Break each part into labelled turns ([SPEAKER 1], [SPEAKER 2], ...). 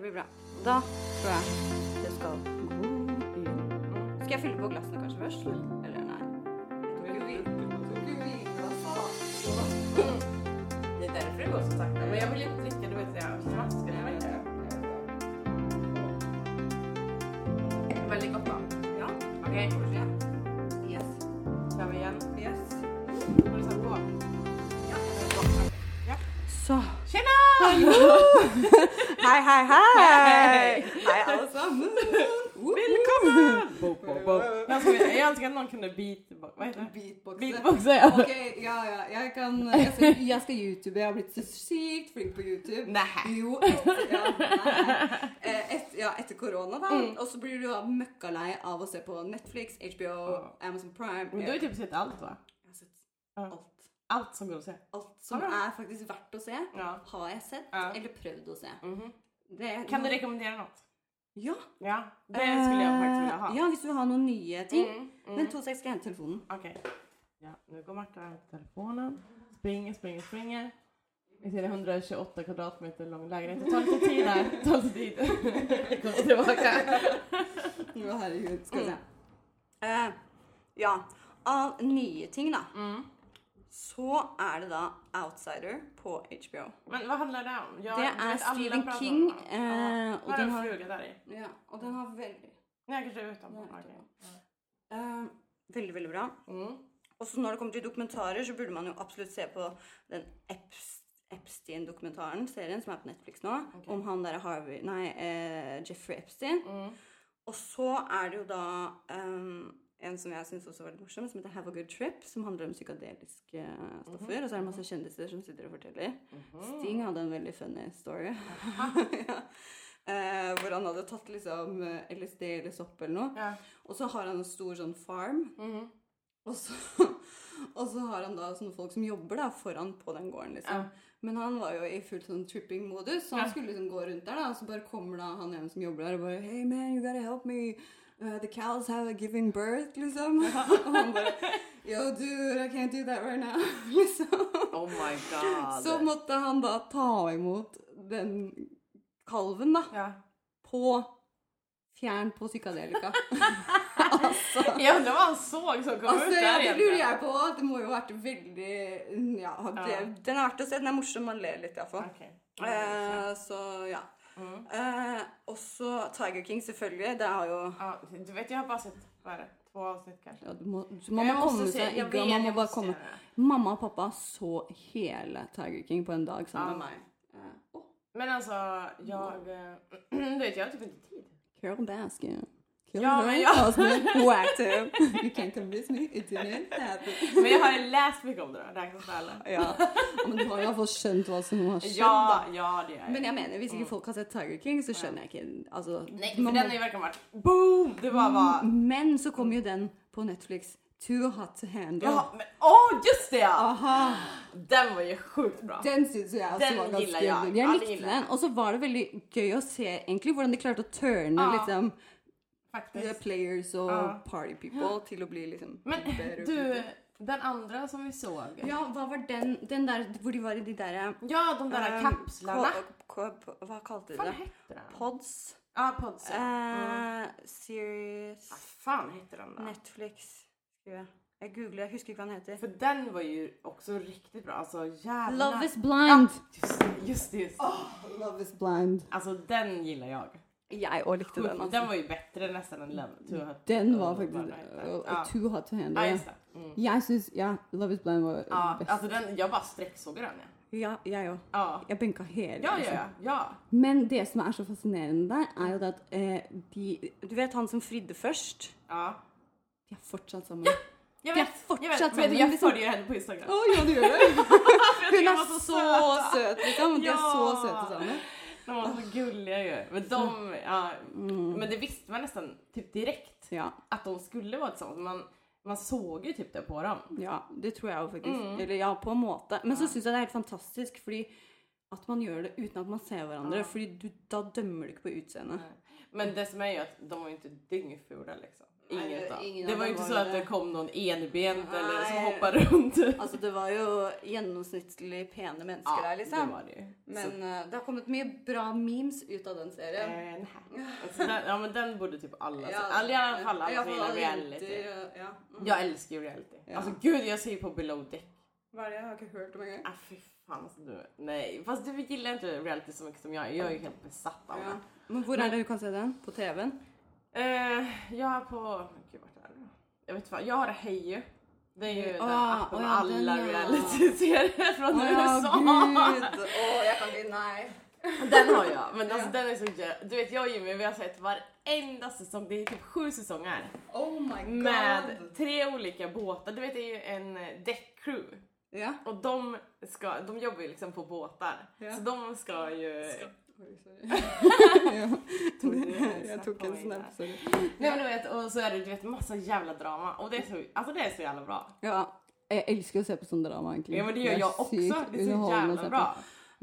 [SPEAKER 1] blir bra. Da tror jeg det skal gå Skal jeg fylle på glassene kanskje først? Eller nei?
[SPEAKER 2] Det er derfor det går så sakte. Men jeg vill inte dricka, du vet, jag smaskar det veldig. Veldig godt, da.
[SPEAKER 1] Ja.
[SPEAKER 2] Ok,
[SPEAKER 1] Yes.
[SPEAKER 2] tar vi igjen.
[SPEAKER 1] Yes.
[SPEAKER 2] Må liksom gå.
[SPEAKER 1] Så.
[SPEAKER 2] Tjena!
[SPEAKER 1] Hei, hei, hei! Hei, alle sammen. Velkommen!
[SPEAKER 2] Jag önskar, jag önskar att någon kunde beatbox... Vad heter det?
[SPEAKER 1] Beatbox.
[SPEAKER 2] Beatboxa, ja.
[SPEAKER 1] Ok, ja, ja. Jeg, kan, jeg, skal, jeg skal YouTube. Jeg har blitt så sykt flink på YouTube.
[SPEAKER 2] Nei.
[SPEAKER 1] Jo, etter, ja, nei. Eh, Et, ja, etter korona, da.
[SPEAKER 2] Mm.
[SPEAKER 1] Og så blir du da møkkalei av å se på Netflix, HBO, Amazon Prime.
[SPEAKER 2] Men du har ju typ sett allt, va?
[SPEAKER 1] Jeg har sett
[SPEAKER 2] Ja.
[SPEAKER 1] alt.
[SPEAKER 2] Allt som går att se.
[SPEAKER 1] Alt som
[SPEAKER 2] Har du?
[SPEAKER 1] er faktisk verdt å se,
[SPEAKER 2] Ja.
[SPEAKER 1] har jeg sett
[SPEAKER 2] Ja.
[SPEAKER 1] eller prøvd å se.
[SPEAKER 2] Mhm.
[SPEAKER 1] Det-
[SPEAKER 2] Kan du rekommendera något?
[SPEAKER 1] Ja.
[SPEAKER 2] Ja, det skulle jag faktiskt vilja ha.
[SPEAKER 1] Eh, Ja, hvis du har noen nye ting.
[SPEAKER 2] Mm, mm.
[SPEAKER 1] Men to sek skal jeg hente telefonen.
[SPEAKER 2] Okej. Ja, nu går Marta och hämtar telefonen. Springer, springer, springer. Vi ser en 128 kvadratmeter lång lägenhet. Det tar lite tid där. Det tar lite tid. Kommer tillbaka.
[SPEAKER 1] Å, herregud. Skal vi se.
[SPEAKER 2] Mm.
[SPEAKER 1] Eh, ja. Av nye ting, da, så er det da Outsider på HBO.
[SPEAKER 2] Men vad handlar det om? Jag,
[SPEAKER 1] Det
[SPEAKER 2] du
[SPEAKER 1] är
[SPEAKER 2] vet, alla
[SPEAKER 1] Stephen
[SPEAKER 2] pratar om
[SPEAKER 1] King,
[SPEAKER 2] honom.
[SPEAKER 1] eh,
[SPEAKER 2] Ja.
[SPEAKER 1] och den
[SPEAKER 2] Har du en
[SPEAKER 1] har-
[SPEAKER 2] fluga där i?
[SPEAKER 1] Ja, og den har veldig
[SPEAKER 2] Nej, kanske det är utanpå.
[SPEAKER 1] Nej,
[SPEAKER 2] Okej.
[SPEAKER 1] eh, Veldig, veldig bra.
[SPEAKER 2] Mm.
[SPEAKER 1] Og så når det kommer til dokumentarer, så burde man jo absolutt se på den Eps- Epstein-dokumentaren, serien som er på Netflix nå,
[SPEAKER 2] Ok.
[SPEAKER 1] om han derre Harvey Nei, eh, Jeffrey Epstein.
[SPEAKER 2] Mm.
[SPEAKER 1] Og så er det jo da eh, en som jeg syns også var litt morsom, som heter Have a Good Trip, som handler om psykadeliske eh, stoffer. Og så er det masse kjendiser som sitter og forteller. Sting hadde en veldig funny story. ja. Eh, hvor han hadde tatt liksom eh, LSD eller sopp eller noe.
[SPEAKER 2] Ja.
[SPEAKER 1] Og så har han en stor sånn farm.
[SPEAKER 2] Mhm.
[SPEAKER 1] Og så, og så har han da sånne folk som jobber da foran på den gården, liksom.
[SPEAKER 2] Ja.
[SPEAKER 1] Men han var jo i fullt sånn tripping-modus, så han
[SPEAKER 2] Ja.
[SPEAKER 1] skulle liksom gå rundt der, da. Og så bare kommer da han ene som jobber der og bare Hey man, you gotta help me. Uh, the cows have giving birth, liksom. og han bare Yo dude, I can't do that right now. liksom.
[SPEAKER 2] Oh my god.
[SPEAKER 1] Så måtte han da ta imot den kalven, da.
[SPEAKER 2] Ja.
[SPEAKER 1] På Fjern på psykadelika.
[SPEAKER 2] Jag undrar vad han såg som kom
[SPEAKER 1] Altså,
[SPEAKER 2] ut
[SPEAKER 1] ja,
[SPEAKER 2] där
[SPEAKER 1] det
[SPEAKER 2] egentligen.
[SPEAKER 1] lurer jeg på. Det må jo ha vært veldig ja, det, Den er verdt å se. Den er morsom. Man ler litt, iallfall.
[SPEAKER 2] Okej.
[SPEAKER 1] Eh, så ja.
[SPEAKER 2] Mm.
[SPEAKER 1] Eh, og så Tiger King, selvfølgelig. Det har jo
[SPEAKER 2] Ja, du vet, jeg har bare sett vad är det, två avsnitt kanske.
[SPEAKER 1] ja, du må, du- Man må
[SPEAKER 2] Jeg måste
[SPEAKER 1] komme
[SPEAKER 2] se-
[SPEAKER 1] seg i
[SPEAKER 2] jeg
[SPEAKER 1] gang.
[SPEAKER 2] vet,
[SPEAKER 1] Man må
[SPEAKER 2] jeg
[SPEAKER 1] bare
[SPEAKER 2] måste
[SPEAKER 1] komme.
[SPEAKER 2] se det.
[SPEAKER 1] Mamma og pappa så hele Tiger King på en dag sammen med
[SPEAKER 2] Ja.
[SPEAKER 1] meg. Eh, og
[SPEAKER 2] Men alltså, jag... eh, Du vet, jag har typ inte tid.
[SPEAKER 1] Carol Baskin. Kill
[SPEAKER 2] Ja,
[SPEAKER 1] her,
[SPEAKER 2] men ja.
[SPEAKER 1] husband, Who active? You can't convince me. It didn't happen.
[SPEAKER 2] Men jag har ju läst mycket om det då, räknas det eller?
[SPEAKER 1] Ja. Men du har i hvert fall skjønt hva som har skjedd. da.
[SPEAKER 2] Ja, ja det gör
[SPEAKER 1] Men
[SPEAKER 2] jag.
[SPEAKER 1] jeg mener, hvis
[SPEAKER 2] Mm.
[SPEAKER 1] ikke folk har sett Tiger King, så skjønner jeg ikke altså,
[SPEAKER 2] Nej,
[SPEAKER 1] man
[SPEAKER 2] för
[SPEAKER 1] må- Mm.
[SPEAKER 2] den har ju verkligen varit boom! Det bara var...
[SPEAKER 1] Men så kom jo den på Netflix. Too Hot to Handle.
[SPEAKER 2] Ja, men åh just det ja!
[SPEAKER 1] Aha,
[SPEAKER 2] Den var ju sjukt bra.
[SPEAKER 1] den syns jo jeg også
[SPEAKER 2] Den
[SPEAKER 1] var ganske
[SPEAKER 2] gillar jag.
[SPEAKER 1] Jeg
[SPEAKER 2] Ja, den
[SPEAKER 1] likte
[SPEAKER 2] gillar
[SPEAKER 1] den. Og så var det veldig gøy å se egentlig hvordan de klarte å turne
[SPEAKER 2] Ja.
[SPEAKER 1] liksom, the
[SPEAKER 2] Faktiskt.
[SPEAKER 1] players og
[SPEAKER 2] Ah. Ja.
[SPEAKER 1] party people til å bli liksom
[SPEAKER 2] Men
[SPEAKER 1] better
[SPEAKER 2] du,
[SPEAKER 1] people.
[SPEAKER 2] den andra som vi såg.
[SPEAKER 1] Ja, hva var den, den der eh, um, hvor de var i de derre
[SPEAKER 2] Ja, de där
[SPEAKER 1] Ehm,
[SPEAKER 2] kapslarna.
[SPEAKER 1] Hva kalte
[SPEAKER 2] Vad
[SPEAKER 1] de
[SPEAKER 2] fan
[SPEAKER 1] det?
[SPEAKER 2] hette den?
[SPEAKER 1] Pods?
[SPEAKER 2] Ja, pods. ja.
[SPEAKER 1] Eh, series
[SPEAKER 2] Vad fan hette den då?
[SPEAKER 1] Netflix. skriver Jeg Jeg googler, jeg husker ikke hva den heter.
[SPEAKER 2] För den var ju också riktigt bra. Alltså jävlar.
[SPEAKER 1] Love is blind.
[SPEAKER 2] Just det, just det. Just. det.
[SPEAKER 1] Love is blind.
[SPEAKER 2] Alltså den gillar jeg.
[SPEAKER 1] Jeg òg likte den.
[SPEAKER 2] Sjukt.
[SPEAKER 1] Altså.
[SPEAKER 2] Den var ju bättre nästan än Love. Too Hot.
[SPEAKER 1] Den var
[SPEAKER 2] Love
[SPEAKER 1] faktisk øh,
[SPEAKER 2] Hot Night.
[SPEAKER 1] og-
[SPEAKER 2] Ja.
[SPEAKER 1] og Too hot to handle.
[SPEAKER 2] Ja, just det. Mm.
[SPEAKER 1] Jeg syns ja, Love is blind var
[SPEAKER 2] Ja, altså-
[SPEAKER 1] best.
[SPEAKER 2] alltså den, jag bara strecksåg den. Ja.
[SPEAKER 1] Ja, jeg òg.
[SPEAKER 2] Ja.
[SPEAKER 1] Jeg benka hele.
[SPEAKER 2] Ja,
[SPEAKER 1] altså.
[SPEAKER 2] ja, ja, ja.
[SPEAKER 1] Men det som er så fascinerende der, er jo det at eh, de Du vet han som fridde først?
[SPEAKER 2] ja.
[SPEAKER 1] De er fortsatt sammen.
[SPEAKER 2] Jag
[SPEAKER 1] Det är
[SPEAKER 2] vet,
[SPEAKER 1] fortsatt
[SPEAKER 2] jag vet.
[SPEAKER 1] samma,
[SPEAKER 2] Vet du,
[SPEAKER 1] men
[SPEAKER 2] jag
[SPEAKER 1] liksom-
[SPEAKER 2] följer ju henne på Instagram.
[SPEAKER 1] Å ja, du gjør det?
[SPEAKER 2] För jag tycker
[SPEAKER 1] Hun
[SPEAKER 2] de
[SPEAKER 1] er
[SPEAKER 2] var
[SPEAKER 1] så
[SPEAKER 2] söta.
[SPEAKER 1] søt, liksom. De er
[SPEAKER 2] Ja.
[SPEAKER 1] så søte sammen.
[SPEAKER 2] De var så gulliga ju. Men de,
[SPEAKER 1] Mm.
[SPEAKER 2] ja. Men det visste man nästan typ direkt
[SPEAKER 1] Ja.
[SPEAKER 2] att de skulle vara tillsammans. Man, man såg ju typ det på dem.
[SPEAKER 1] Ja, det tror jeg jo faktisk. Eller Mm. ja, på en måte. Men så syns jeg det er helt fantastisk fordi at man gjør det uten at man ser hverandre. Fordi du, da dømmer du ikke på utseendet.
[SPEAKER 2] Men det som är ju att de var ju inte dyngfula liksom. Inget
[SPEAKER 1] Nej,
[SPEAKER 2] då.
[SPEAKER 1] ingen
[SPEAKER 2] Det var ju
[SPEAKER 1] annan
[SPEAKER 2] inte så
[SPEAKER 1] var
[SPEAKER 2] att
[SPEAKER 1] det.
[SPEAKER 2] det kom någon enbent eller som
[SPEAKER 1] Nej.
[SPEAKER 2] hoppade runt.
[SPEAKER 1] Altså, det var jo gjennomsnittlig pene mennesker
[SPEAKER 2] Ja,
[SPEAKER 1] der,
[SPEAKER 2] det
[SPEAKER 1] liksom.
[SPEAKER 2] var det ju.
[SPEAKER 1] Men eh, det har kommet mye bra memes ut av den
[SPEAKER 2] Eh,
[SPEAKER 1] serien.
[SPEAKER 2] nej. Alltså, den, ja men den borde typ alla se.
[SPEAKER 1] Ja,
[SPEAKER 2] Alltså, I alla fall alla
[SPEAKER 1] ja,
[SPEAKER 2] som
[SPEAKER 1] for
[SPEAKER 2] gillar
[SPEAKER 1] alle
[SPEAKER 2] reality.
[SPEAKER 1] jenter, ja. Mm.
[SPEAKER 2] Jag älskar ju reality.
[SPEAKER 1] Ja.
[SPEAKER 2] Alltså gud jag ser ju på below deck.
[SPEAKER 1] Hva er det? Jeg har ikke hørt om engang.
[SPEAKER 2] Ah, fy fan alltså, du. Nej fast du gillar inte reality så mycket som jag. är. Jag är ju helt besatt av det.
[SPEAKER 1] Ja. Men hvor er det du kan se den? På TV-en?
[SPEAKER 2] Eh, jag har på... Gud vart är det? Jag vet fan, jag har Hey You. Det är ju den
[SPEAKER 1] Ah,
[SPEAKER 2] appen
[SPEAKER 1] oh
[SPEAKER 2] med
[SPEAKER 1] ja,
[SPEAKER 2] alla
[SPEAKER 1] den, ja.
[SPEAKER 2] reality-serier från USA.
[SPEAKER 1] jeg kan ikke Nei.
[SPEAKER 2] Den har jag, men alltså,
[SPEAKER 1] Ja.
[SPEAKER 2] den är så jä- Du vet jag och Jimmy vi har sett varenda säsong, det är typ sju säsonger.
[SPEAKER 1] Oh my god.
[SPEAKER 2] Med tre olika båtar, du vet det är ju en eh, däckcrew.
[SPEAKER 1] Ja.
[SPEAKER 2] Och de, ska, de jobbar ju liksom på båtar.
[SPEAKER 1] Ja.
[SPEAKER 2] Så de ska ju...
[SPEAKER 1] Oi, sorry. Jeg tok en snap, sorry.
[SPEAKER 2] Nej men du vet, och så är det du vet massa jävla drama. Och det är så, alltså det är så jävla bra.
[SPEAKER 1] Ja. Jeg elsker å se på sånn drama, egentlig.
[SPEAKER 2] Ja men det gör jag också, det är så jävla bra.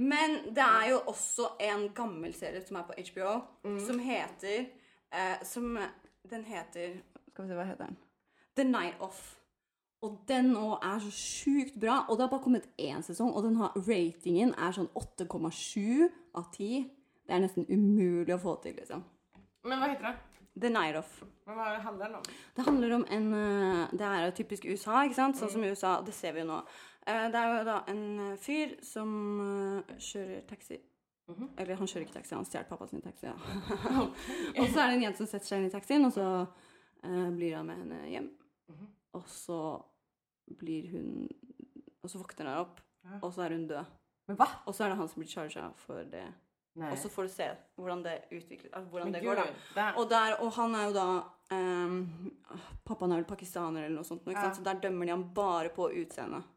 [SPEAKER 1] Men det er jo også en gammel serie som er på HBO, som heter eh, Som Den heter Skal vi se, hva heter den? The Night Off. Og den nå er så sjukt bra. Og det har bare kommet én sesong, og den har, ratingen er sånn 8,7 av 10. Det er nesten umulig å få til, liksom.
[SPEAKER 2] Men vad heter det?
[SPEAKER 1] The Night Off.
[SPEAKER 2] Men vad handlar den om?
[SPEAKER 1] Det handler om en eh, Det er jo typisk USA, ikke sant? Sånn som i USA, og det ser vi jo nå. Eh, Det er jo da en eh, fyr som eh, kjører taxi. Eller han kjører ikke taxi, han stjal pappa sin taxi. Ja. og så er det en jente som setter seg inn i taxien, og så eh, blir han med henne hjem.
[SPEAKER 2] Mhm.
[SPEAKER 1] Og så blir hun Og så våkner han opp,
[SPEAKER 2] Ja.
[SPEAKER 1] og så er hun død.
[SPEAKER 2] Men va?
[SPEAKER 1] Og så er det han som blir charga for det.
[SPEAKER 2] Nej.
[SPEAKER 1] Og så får du se hvordan det utvikler altså, Hvordan
[SPEAKER 2] men
[SPEAKER 1] det
[SPEAKER 2] gud,
[SPEAKER 1] går, da.
[SPEAKER 2] där-
[SPEAKER 1] Og, der, og han er jo da ehm, Pappaen er vel pakistaner eller noe sånt. nå, Ikke sant?
[SPEAKER 2] Ja. Mm.
[SPEAKER 1] Så der dømmer de ham bare på utseendet.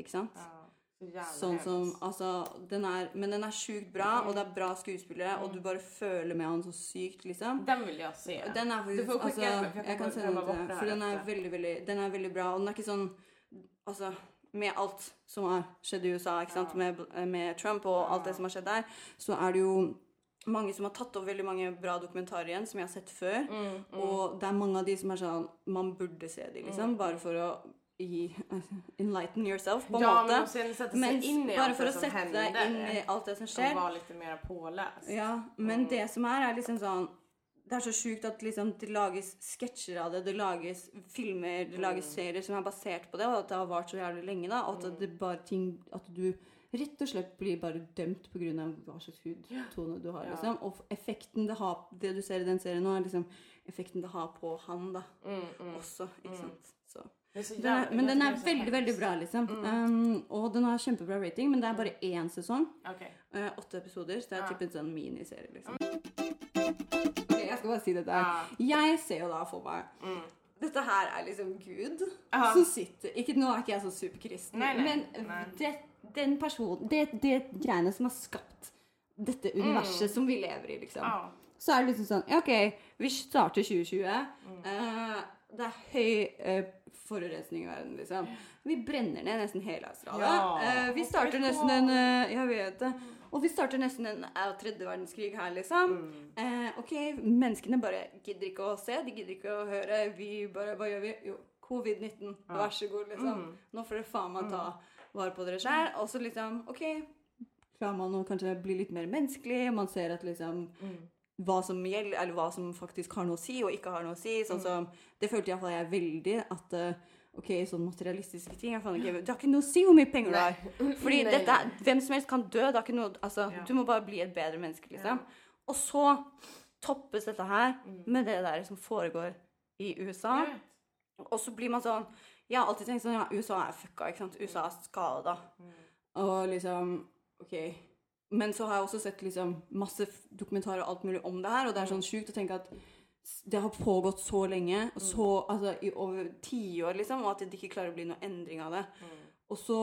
[SPEAKER 1] Ikke sant?
[SPEAKER 2] Ja, så jävla
[SPEAKER 1] Sånn
[SPEAKER 2] hemskt.
[SPEAKER 1] som Altså, den er Men den er sjukt bra, og det er bra skuespillere, og
[SPEAKER 2] Mm.
[SPEAKER 1] du bare føler med han så sykt, liksom.
[SPEAKER 2] Den vill jeg se.
[SPEAKER 1] Den er
[SPEAKER 2] Du
[SPEAKER 1] faktisk
[SPEAKER 2] får
[SPEAKER 1] altså,
[SPEAKER 2] skicka den, för jag
[SPEAKER 1] Jeg
[SPEAKER 2] kommer
[SPEAKER 1] kan sende den
[SPEAKER 2] glömma
[SPEAKER 1] til
[SPEAKER 2] bort det
[SPEAKER 1] deg.
[SPEAKER 2] här
[SPEAKER 1] For den er
[SPEAKER 2] efter.
[SPEAKER 1] veldig, veldig Den er veldig bra, og den er ikke sånn Altså med alt som har skjedd i USA, ikke sant? Med, med Trump og alt det som har skjedd der, så er det jo mange som har tatt opp veldig mange bra dokumentarer igjen, som jeg har sett før.
[SPEAKER 2] Mm.
[SPEAKER 1] Og det er mange av de som er sånn Man burde se de, liksom.
[SPEAKER 2] Mm.
[SPEAKER 1] Bare for å gi Enlighten yourself, på en
[SPEAKER 2] ja, men
[SPEAKER 1] måte.
[SPEAKER 2] och sen sätta sig
[SPEAKER 1] Men
[SPEAKER 2] in i
[SPEAKER 1] bare
[SPEAKER 2] allt
[SPEAKER 1] for
[SPEAKER 2] det
[SPEAKER 1] å
[SPEAKER 2] som
[SPEAKER 1] sette
[SPEAKER 2] händer.
[SPEAKER 1] deg inn i alt det som
[SPEAKER 2] och
[SPEAKER 1] skjer.
[SPEAKER 2] vara lite mer påläst.
[SPEAKER 1] Ja, men det som er, er liksom sånn Det er så sjukt at liksom, det lages sketsjer av det, det lages filmer, det lages
[SPEAKER 2] Mm.
[SPEAKER 1] serier som er basert på det, og at det har vart så jævlig lenge, da. At det
[SPEAKER 2] Mm.
[SPEAKER 1] bare ting At du rett og slett blir bare dømt pga. hva slags hudtone du har,
[SPEAKER 2] Ja.
[SPEAKER 1] liksom. Og effekten det har Det du ser i den serien nå, er liksom effekten det har på han, da.
[SPEAKER 2] Mm, mm.
[SPEAKER 1] Også, ikke sant. Så.
[SPEAKER 2] Det är så
[SPEAKER 1] Den er,
[SPEAKER 2] jävla-
[SPEAKER 1] men
[SPEAKER 2] jag
[SPEAKER 1] den
[SPEAKER 2] tycker
[SPEAKER 1] er
[SPEAKER 2] det så Mm.
[SPEAKER 1] veldig, veldig
[SPEAKER 2] hemskt.
[SPEAKER 1] bra, liksom. Um, og den har kjempebra rating, men det
[SPEAKER 2] Mm.
[SPEAKER 1] er bare én sesong.
[SPEAKER 2] Okej.
[SPEAKER 1] Eh, åtte episoder, så det er
[SPEAKER 2] Ja. Mm.
[SPEAKER 1] typ en sånn miniserie, liksom. Ok, jeg skal bare si dette
[SPEAKER 2] Ja.
[SPEAKER 1] her. Jeg ser jo da for meg
[SPEAKER 2] Mm.
[SPEAKER 1] Dette her er liksom Gud
[SPEAKER 2] Ja.
[SPEAKER 1] som sitter ikke, Nå er ikke jeg så superkristen,
[SPEAKER 2] Nei, nei,
[SPEAKER 1] men
[SPEAKER 2] nei.
[SPEAKER 1] Det, den personen det, det greiene som har skapt dette universet som vi lever i, liksom.
[SPEAKER 2] Mm. Ja.
[SPEAKER 1] Så er det liksom sånn ja, OK, vi starter 2020. eh, det er høy eh, forurensning i verden, liksom. Vi brenner ned nesten hele Australia.
[SPEAKER 2] Ja.
[SPEAKER 1] Eh, vi starter nesten en eh, Jeg vet det. Og vi starter nesten en eh, tredje verdenskrig her, liksom. Eh, OK, menneskene bare gidder ikke å se, de gidder ikke å høre. Vi bare Hva gjør vi? Jo, covid-19. Vær så god, liksom. Nå får dere faen meg ta vare på dere sjæl. Og så liksom OK, klarer man å kanskje bli litt mer menneskelig. Man ser at liksom hva som gjelder, eller hva som faktisk har noe å si og ikke har noe å si.
[SPEAKER 2] Mm.
[SPEAKER 1] Sånn som, det følte iallfall jeg veldig. At eh, ok, sånne materialistiske ting jeg faen ikke, Det har ikke noe å si hvor mye penger du har. Fordi
[SPEAKER 2] Nei.
[SPEAKER 1] dette, er- hvem som helst kan dø. Det har ikke noe, altså,
[SPEAKER 2] Ja.
[SPEAKER 1] Du må bare bli et bedre menneske, liksom. Og så toppes dette her
[SPEAKER 2] Mm.
[SPEAKER 1] med det der som foregår i USA.
[SPEAKER 2] Jag vet.
[SPEAKER 1] Og så blir man sånn Jeg har alltid tenkt sånn Ja, USA er fucka, ikke sant? USA er skada. Og liksom OK. Men så har jeg også sett liksom masse f- dokumentarer og alt mulig om det her, og det er sånn sjukt å tenke at s- det har pågått så lenge, og så, altså i over tiår, liksom, og at det ikke klarer å bli noen endring av det. Og så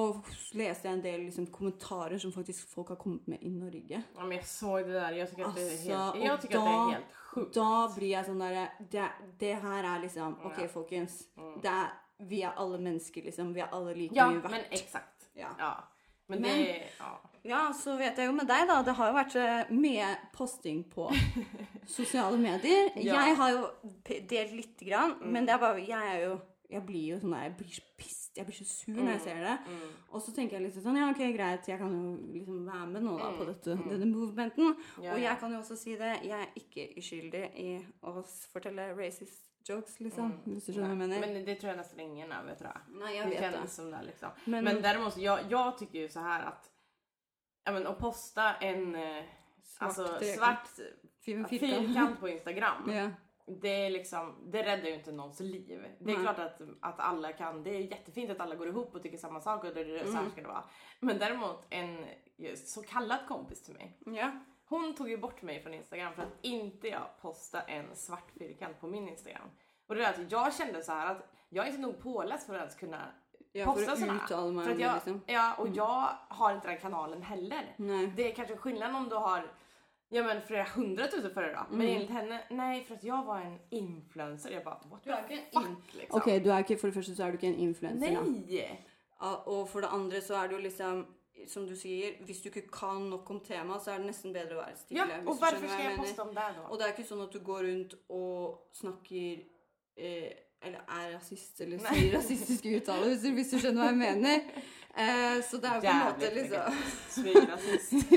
[SPEAKER 1] leste jeg en del liksom, kommentarer som faktisk folk har kommet med i Norge.
[SPEAKER 2] Ja, men jag såg det där. Jag tycker att det
[SPEAKER 1] Alltså,
[SPEAKER 2] är helt,
[SPEAKER 1] och
[SPEAKER 2] jag tycker att det
[SPEAKER 1] då-
[SPEAKER 2] är helt sjukt.
[SPEAKER 1] Altså, Da blir jeg sånn derre det, det her er liksom OK, folkens. Det er, vi er alle mennesker, liksom. Vi er alle like
[SPEAKER 2] Ja,
[SPEAKER 1] mye verdt.
[SPEAKER 2] men exakt.
[SPEAKER 1] Ja.
[SPEAKER 2] Ja. Men,
[SPEAKER 1] Men-
[SPEAKER 2] det är... Ja.
[SPEAKER 1] Ja, så vet jeg jo med deg, da. Det har jo vært eh, mye posting på Sosiale medier.
[SPEAKER 2] Ja. Mm.
[SPEAKER 1] Jeg har jo p- delt lite grann, men det er bare Jeg er jo Jeg blir jo sånn der Jeg blir så pissed. Jeg blir så sur
[SPEAKER 2] Mm.
[SPEAKER 1] når jeg ser det. Og så tenker jeg litt sånn Ja, ok, greit, jeg kan jo liksom være med nå da på dette, denne movementen.
[SPEAKER 2] Mm. Ja,
[SPEAKER 1] og
[SPEAKER 2] ja.
[SPEAKER 1] jeg kan jo også si det. Jeg er ikke uskyldig i å s- fortelle racist jokes, liksom. Hvis du skjønner hva jeg mener.
[SPEAKER 2] Mm. Men det tror jag nästan ingen av er, tror jag.
[SPEAKER 1] Nei, jeg
[SPEAKER 2] det
[SPEAKER 1] vet
[SPEAKER 2] känns
[SPEAKER 1] det.
[SPEAKER 2] som det liksom.
[SPEAKER 1] Men-
[SPEAKER 2] Men, däremot, så jag, jag tycker ju så här att ja, men, att posta en eh, alltså,
[SPEAKER 1] trekant.
[SPEAKER 2] svart
[SPEAKER 1] Fir- Firkant.
[SPEAKER 2] fyrkant på Instagram,
[SPEAKER 1] Ja.
[SPEAKER 2] det, är liksom, det räddar ju inte någons liv. Det
[SPEAKER 1] Nej.
[SPEAKER 2] är klart att, att alla kan, det är jättefint att alla går ihop och tycker samma sak och det, det, så här ska det vara. Men däremot en just så kallad kompis till mig,
[SPEAKER 1] ja.
[SPEAKER 2] hon tog ju bort mig från Instagram för att inte jag postade en svart fyrkant på min Instagram. Och det är att jag kände så här att jag är inte nog påläst för att ens kunna
[SPEAKER 1] Ja, för
[SPEAKER 2] posta
[SPEAKER 1] att
[SPEAKER 2] sådana.
[SPEAKER 1] uttala mig
[SPEAKER 2] För att
[SPEAKER 1] om det,
[SPEAKER 2] jag,
[SPEAKER 1] liksom.
[SPEAKER 2] Ja, och jag har inte den kanalen heller.
[SPEAKER 1] Nej.
[SPEAKER 2] Det är kanske skillnad om du har ja, men flera hundratusen följare då. Men
[SPEAKER 1] Mm.
[SPEAKER 2] enligt henne, nej för att jag var en influencer. Jag bara what
[SPEAKER 1] är
[SPEAKER 2] the
[SPEAKER 1] inte en
[SPEAKER 2] fuck liksom.
[SPEAKER 1] Ok, du er ikke, for det første så er du ikke en influenser. da.
[SPEAKER 2] Nej!
[SPEAKER 1] Ja, og for det andre så er det jo liksom som du sier, hvis du ikke kan nok om temaet, så er det nesten bedre å være stille.
[SPEAKER 2] Ja,
[SPEAKER 1] hvis
[SPEAKER 2] och
[SPEAKER 1] du
[SPEAKER 2] varför
[SPEAKER 1] skjønner
[SPEAKER 2] ska
[SPEAKER 1] hva
[SPEAKER 2] jag
[SPEAKER 1] mener.
[SPEAKER 2] posta om det då?
[SPEAKER 1] Og det er ikke sånn at du går rundt og snakker eh, Eller er rasist, eller
[SPEAKER 2] Nei.
[SPEAKER 1] sier rasistiske uttalelser, hvis du skjønner hva jeg mener. Eh, så det er jo på en måte
[SPEAKER 2] Jävligt
[SPEAKER 1] liksom
[SPEAKER 2] smygrasist.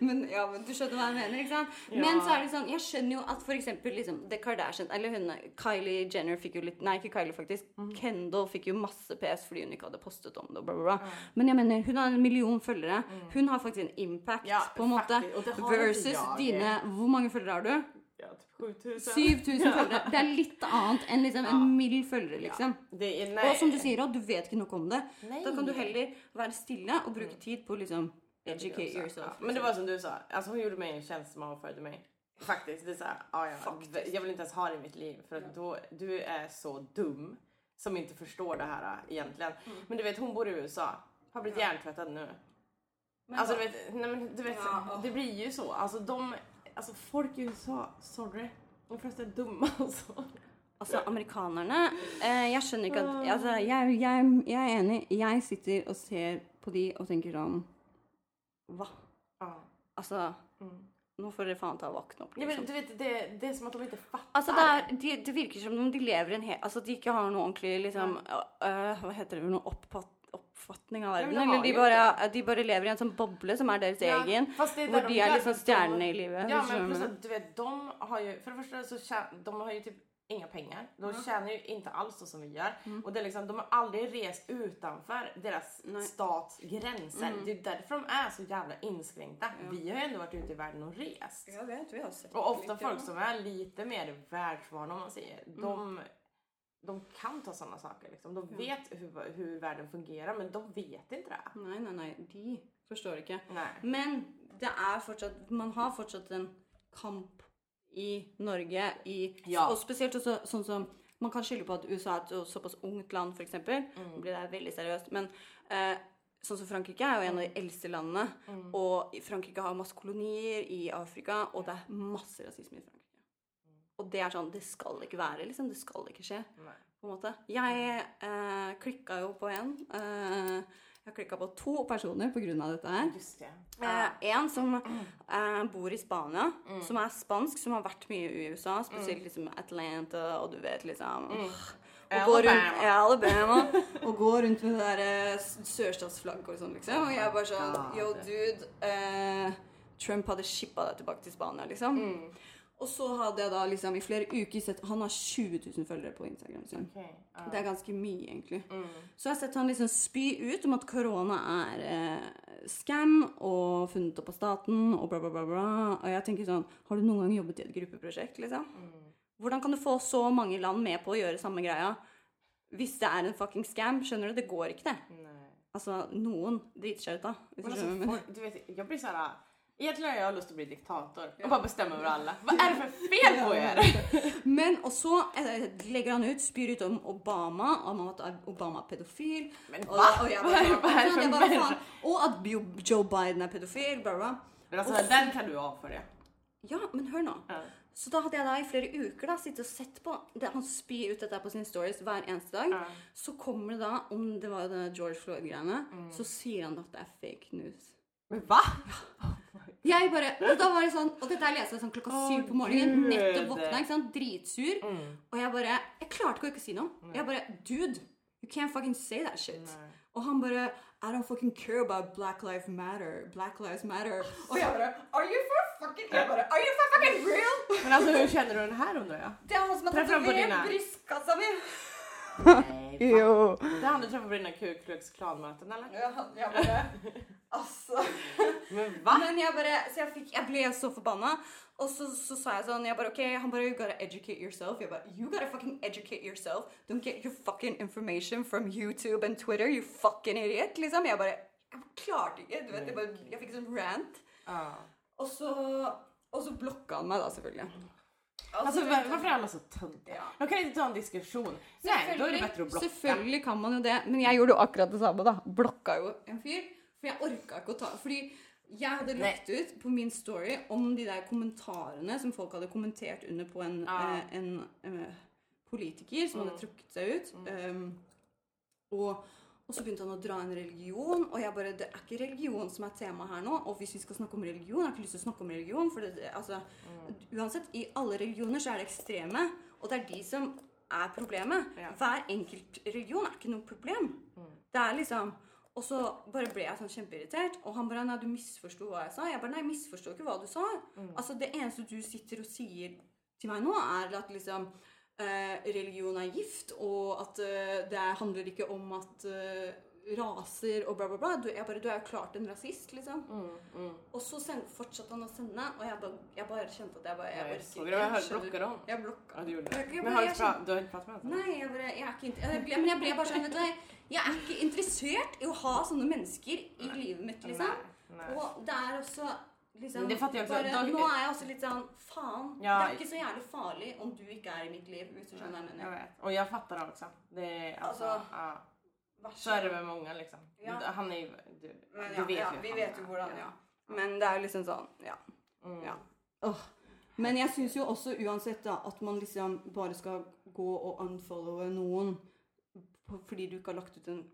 [SPEAKER 1] men, ja, men du skjønner hva jeg mener, ikke sant?
[SPEAKER 2] Ja.
[SPEAKER 1] Men så er det sånn, jeg skjønner jo at for eksempel liksom, The Kardashian, eller hun, Kylie Jenner fikk jo litt, nei ikke Kylie faktisk,
[SPEAKER 2] Mhm.
[SPEAKER 1] Kendall fikk jo masse PS fordi hun ikke hadde postet om det, og bla bla bla. Men jeg mener, hun har en million følgere, hun har faktisk en impact
[SPEAKER 2] Mhm. Ja,
[SPEAKER 1] på en måte,
[SPEAKER 2] faktisk, og det har
[SPEAKER 1] versus
[SPEAKER 2] ikke jeg.
[SPEAKER 1] dine, hvor mange følgere har du?
[SPEAKER 2] Ja, typ 7000.
[SPEAKER 1] 7000 følgere, det er litt annet enn liksom en mild følgere liksom.
[SPEAKER 2] Det är,
[SPEAKER 1] Og
[SPEAKER 2] nej.
[SPEAKER 1] som du sier, at du vet ikke nok om det.
[SPEAKER 2] Nei. Mm.
[SPEAKER 1] Da kan du heller være stille og bruke tid på å liksom educate
[SPEAKER 2] Ja,
[SPEAKER 1] yourself.
[SPEAKER 2] Men det var som du sa, alltså hon gjorde mig en tjänst som avförde mig. Faktiskt, det är såhär, ja, ja, jag vill inte ens ha det i mitt liv för att då, du är så dum som inte förstår det här äh, egentligen.
[SPEAKER 1] Mm.
[SPEAKER 2] Men du vet, hon bor i USA, har blivit hjärntvättad nu. alltså Altså, du vet, nej, men, du vet
[SPEAKER 1] Ja,
[SPEAKER 2] det blir ju så. Alltså de, alltså folk i USA, sorry, de flesta är dumma alltså.
[SPEAKER 1] Altså, amerikanerne eh, Jeg skjønner ikke at altså, jeg, jeg, jeg er enig. Jeg sitter og ser på de og tenker sånn Hva?
[SPEAKER 2] Ja.
[SPEAKER 1] Altså Nå får dere faen ta og våkne opp.
[SPEAKER 2] Ja, men
[SPEAKER 1] Liksom.
[SPEAKER 2] du vet, det, det är som att de inte fattar.
[SPEAKER 1] Altså, det, er, de, det virker som om de lever i en hel Altså, de ikke har noe ordentlig liksom øh, øh, Hva heter det? Noen oppfatt, oppfatning av
[SPEAKER 2] Ja, men
[SPEAKER 1] verden? Eller
[SPEAKER 2] de har
[SPEAKER 1] de
[SPEAKER 2] jo
[SPEAKER 1] bare, de bare lever i en sånn boble som er deres
[SPEAKER 2] Ja,
[SPEAKER 1] egen,
[SPEAKER 2] fast det er der
[SPEAKER 1] hvor
[SPEAKER 2] de
[SPEAKER 1] de er
[SPEAKER 2] lever,
[SPEAKER 1] liksom
[SPEAKER 2] så-
[SPEAKER 1] stjernene i livet.
[SPEAKER 2] Ja,
[SPEAKER 1] hvis du
[SPEAKER 2] men
[SPEAKER 1] skjønner hva
[SPEAKER 2] plus
[SPEAKER 1] jeg
[SPEAKER 2] att du vet, de har ju, för det första så tjä- de har ju typ inga pengar. De tjänar ju inte alls så som vi gör. Och det är liksom, de har aldrig rest utanför deras stats gränser. Det är därför de är så jävla inskränkta. Vi har ju ändå varit ute i världen och rest.
[SPEAKER 1] mener.
[SPEAKER 2] Och ofta folk som är lite mer världsvana om man säger, de, de kan ta sådana saker. Liksom. De vet hur, hur världen fungerar men de vet inte det.
[SPEAKER 1] Nei, nei, nei. De forstår ikke.
[SPEAKER 2] Nej.
[SPEAKER 1] Men det er fortsatt Man har fortsatt en kamp i Norge, i,
[SPEAKER 2] Ja.
[SPEAKER 1] og spesielt også sånn som Man kan skylde på at USA er et så- såpass ungt land, f.eks. Mm. Blir det her veldig seriøst. Men eh, sånn som Frankrike er jo en av de eldste landene. Og Frankrike har masse kolonier i Afrika, og det er masse rasisme i Frankrike. Og det er sånn Det skal ikke være, liksom. Det skal ikke skje
[SPEAKER 2] Nej.
[SPEAKER 1] på en måte. Jeg eh, klikka jo på en. Eh, jeg klikka på to personer pga. dette her.
[SPEAKER 2] Just det.
[SPEAKER 1] Eh, en som eh,
[SPEAKER 2] Mm.
[SPEAKER 1] bor i Spania, som er spansk, som har vært mye i USA,
[SPEAKER 2] Mm.
[SPEAKER 1] spesielt liksom Atlanta og du vet liksom Og går rundt,
[SPEAKER 2] Alabama.
[SPEAKER 1] ja, Alabama. Og går rundt med det der uh, sørstatsflagget og sånn, liksom. Og jeg bare sånn
[SPEAKER 2] God.
[SPEAKER 1] Yo, dude. eh, Trump hadde shippa deg tilbake til Spania, liksom.
[SPEAKER 2] Mm.
[SPEAKER 1] Og så hadde jeg da liksom i flere uker sett Han har 20 000 følgere på Instagram liksom. sin.
[SPEAKER 2] Okej, ja.
[SPEAKER 1] Det er ganske mye, egentlig. Så jeg har sett han liksom spy ut om at korona er eh, scam og funnet opp av staten og bla, bla, bla. bla. Og jeg tenker sånn Har du noen gang jobbet i et gruppeprosjekt, liksom? Hvordan kan du få så mange land med på å gjøre samme greia hvis det er en fucking scam? Skjønner du? Det går ikke, det.
[SPEAKER 2] Nej.
[SPEAKER 1] Altså, noen driter seg ut, da. Hvis
[SPEAKER 2] Men
[SPEAKER 1] du
[SPEAKER 2] alltså,
[SPEAKER 1] skjønner. hva jeg mener.
[SPEAKER 2] folk- du vet, jag blir så här. Egentligen har jag lust att bli diktator och bara bestämma över alla. Vad är det för fel på er?
[SPEAKER 1] Men, og så eh, legger han ut, spyr ut om Obama, om at Obama er pedofil.
[SPEAKER 2] Men
[SPEAKER 1] og,
[SPEAKER 2] hva?
[SPEAKER 1] og, jeg
[SPEAKER 2] Hva
[SPEAKER 1] bare,
[SPEAKER 2] er- hva er det
[SPEAKER 1] sånn, jeg
[SPEAKER 2] for
[SPEAKER 1] bare,
[SPEAKER 2] menneske?
[SPEAKER 1] faen, og at Jo- Joe Biden er pedofil, bla, bla.
[SPEAKER 2] Men alltså, den kan du avfölja.
[SPEAKER 1] Ja, men hør nå.
[SPEAKER 2] Ja.
[SPEAKER 1] Så da hadde jeg da i flere uker da sittet og sett på det, Han spyr ut dette på sine stories hver eneste dag.
[SPEAKER 2] Ja.
[SPEAKER 1] Så kommer det da, om det var jo
[SPEAKER 2] Mm.
[SPEAKER 1] denne George Floyd-greiene, så sier han at det er fake news.
[SPEAKER 2] Men va?
[SPEAKER 1] Jeg bare, og da var det sånn, og dette her leste jeg sånn klokka
[SPEAKER 2] Å,
[SPEAKER 1] syv på morgenen.
[SPEAKER 2] Gud. Mm.
[SPEAKER 1] Nettopp våkna, ikke sant? dritsur. Og jeg bare Jeg klarte ikke å ikke si noe. Jeg bare Dude, you can't fucking say that shit.
[SPEAKER 2] Nei.
[SPEAKER 1] Og han bare I don't fucking care about black lives matter. Black lives matter. Og jeg bare Are you for fucking Jeg bare Are you for fucking real?
[SPEAKER 2] Men altså, alltså hur känner du den här undrar jag?
[SPEAKER 1] Det er han som har
[SPEAKER 2] Treff fram på
[SPEAKER 1] tatovert
[SPEAKER 2] dina.
[SPEAKER 1] brystkassa mi.
[SPEAKER 2] Nej,
[SPEAKER 1] Jo.
[SPEAKER 2] Det han du träffade på dina Ku Klux Klan-möten eller?
[SPEAKER 1] Ja, jeg bare Altså.
[SPEAKER 2] Men va?
[SPEAKER 1] Men jeg bare, så jeg, fikk, jeg ble så forbanna. Og så, så sa jeg sånn jeg bare, ok, Han bare You gotta educate yourself. Jeg bare You gotta fucking educate yourself. Don't get your fucking information from YouTube and Twitter, you fucking idiot. Liksom. Jeg bare Jeg klarte ikke. du vet, Jeg, bare, jeg fikk sånn rant.
[SPEAKER 2] Ja.
[SPEAKER 1] Og så, og så blokka han meg, da, selvfølgelig. Altså, Og
[SPEAKER 2] Alltså
[SPEAKER 1] så
[SPEAKER 2] var-
[SPEAKER 1] tenkte jeg-
[SPEAKER 2] varför är alla så töntiga?
[SPEAKER 1] Ja.
[SPEAKER 2] De kan inte ta en diskussion. Nej, då är det bättre att blocka.
[SPEAKER 1] Selvfølgelig kan man jo det, men jeg gjorde jo akkurat det samme, da. Blokka jo en fyr. For jeg orka ikke å ta Fordi jeg hadde lagt ut på min story om de der kommentarene som folk hadde kommentert under på en,
[SPEAKER 2] Ja.
[SPEAKER 1] eh, en eh, politiker som hadde trukket seg ut. Eh, og, og så begynte han å dra en religion, og jeg bare Det er ikke religion som er tema her nå. Og hvis vi skal snakke om religion, jeg har jeg ikke lyst til å snakke om religion. For det, altså, uansett, i alle religioner så er det ekstreme, og det er de som er problemet.
[SPEAKER 2] Ja.
[SPEAKER 1] Hver enkelt religion er ikke noe problem. Det er liksom Og så bare ble jeg sånn kjempeirritert, og han bare Nei, du misforsto hva jeg sa. Jeg bare Nei, jeg misforsto ikke hva du sa.
[SPEAKER 2] Mm.
[SPEAKER 1] Altså, det eneste du sitter og sier til meg nå, er at liksom eh, religion er gift, og at eh, det handler ikke om at eh, raser og bla, bla, bla. Du, jeg bare, du er jo klart en rasist, liksom.
[SPEAKER 2] Mm.
[SPEAKER 1] Og så send, fortsatte han å sende, og jeg bare, jeg bare kjente at jeg bare
[SPEAKER 2] Nej,
[SPEAKER 1] Jeg
[SPEAKER 2] så
[SPEAKER 1] orker
[SPEAKER 2] du har hört
[SPEAKER 1] skjønner du?
[SPEAKER 2] blocka dem?
[SPEAKER 1] Jeg blokka.
[SPEAKER 2] Ja, det gjorde det.
[SPEAKER 1] Jag
[SPEAKER 2] Men
[SPEAKER 1] bara,
[SPEAKER 2] har du,
[SPEAKER 1] jag
[SPEAKER 2] pra- du har inte pratat med honom?
[SPEAKER 1] Nei, jeg bare, jeg er ikke inter- jeg ble, Men jeg ble bare sånn, vet du hva, Jeg er ikke interessert i å ha sånne mennesker i livet mitt, liksom.
[SPEAKER 2] Nej.
[SPEAKER 1] Og det er også liksom
[SPEAKER 2] Men det fatter jeg også.
[SPEAKER 1] bare,
[SPEAKER 2] Da-
[SPEAKER 1] Nå er jeg også litt sånn Faen,
[SPEAKER 2] Ja.
[SPEAKER 1] det er ikke så jævlig farlig om du ikke er i mitt liv, hvis du skjønner hva jeg
[SPEAKER 2] Jag
[SPEAKER 1] mener.
[SPEAKER 2] vet. Och jag fattar det också. Det är, alltså,
[SPEAKER 1] Alltså,
[SPEAKER 2] ja.
[SPEAKER 1] Vær
[SPEAKER 2] Så är det med många liksom.
[SPEAKER 1] Ja.
[SPEAKER 2] Han är ju, du,
[SPEAKER 1] Men
[SPEAKER 2] du
[SPEAKER 1] ja,
[SPEAKER 2] vet
[SPEAKER 1] ja,
[SPEAKER 2] ju.
[SPEAKER 1] vi
[SPEAKER 2] han
[SPEAKER 1] vet
[SPEAKER 2] är. Mm.
[SPEAKER 1] jo hvordan ja. Men det er jo liksom sånn Ja. ja. Åh. Men jeg syns jo også uansett da, at man liksom bare skal gå og unfollowe noen på- fordi du ikke har lagt ut en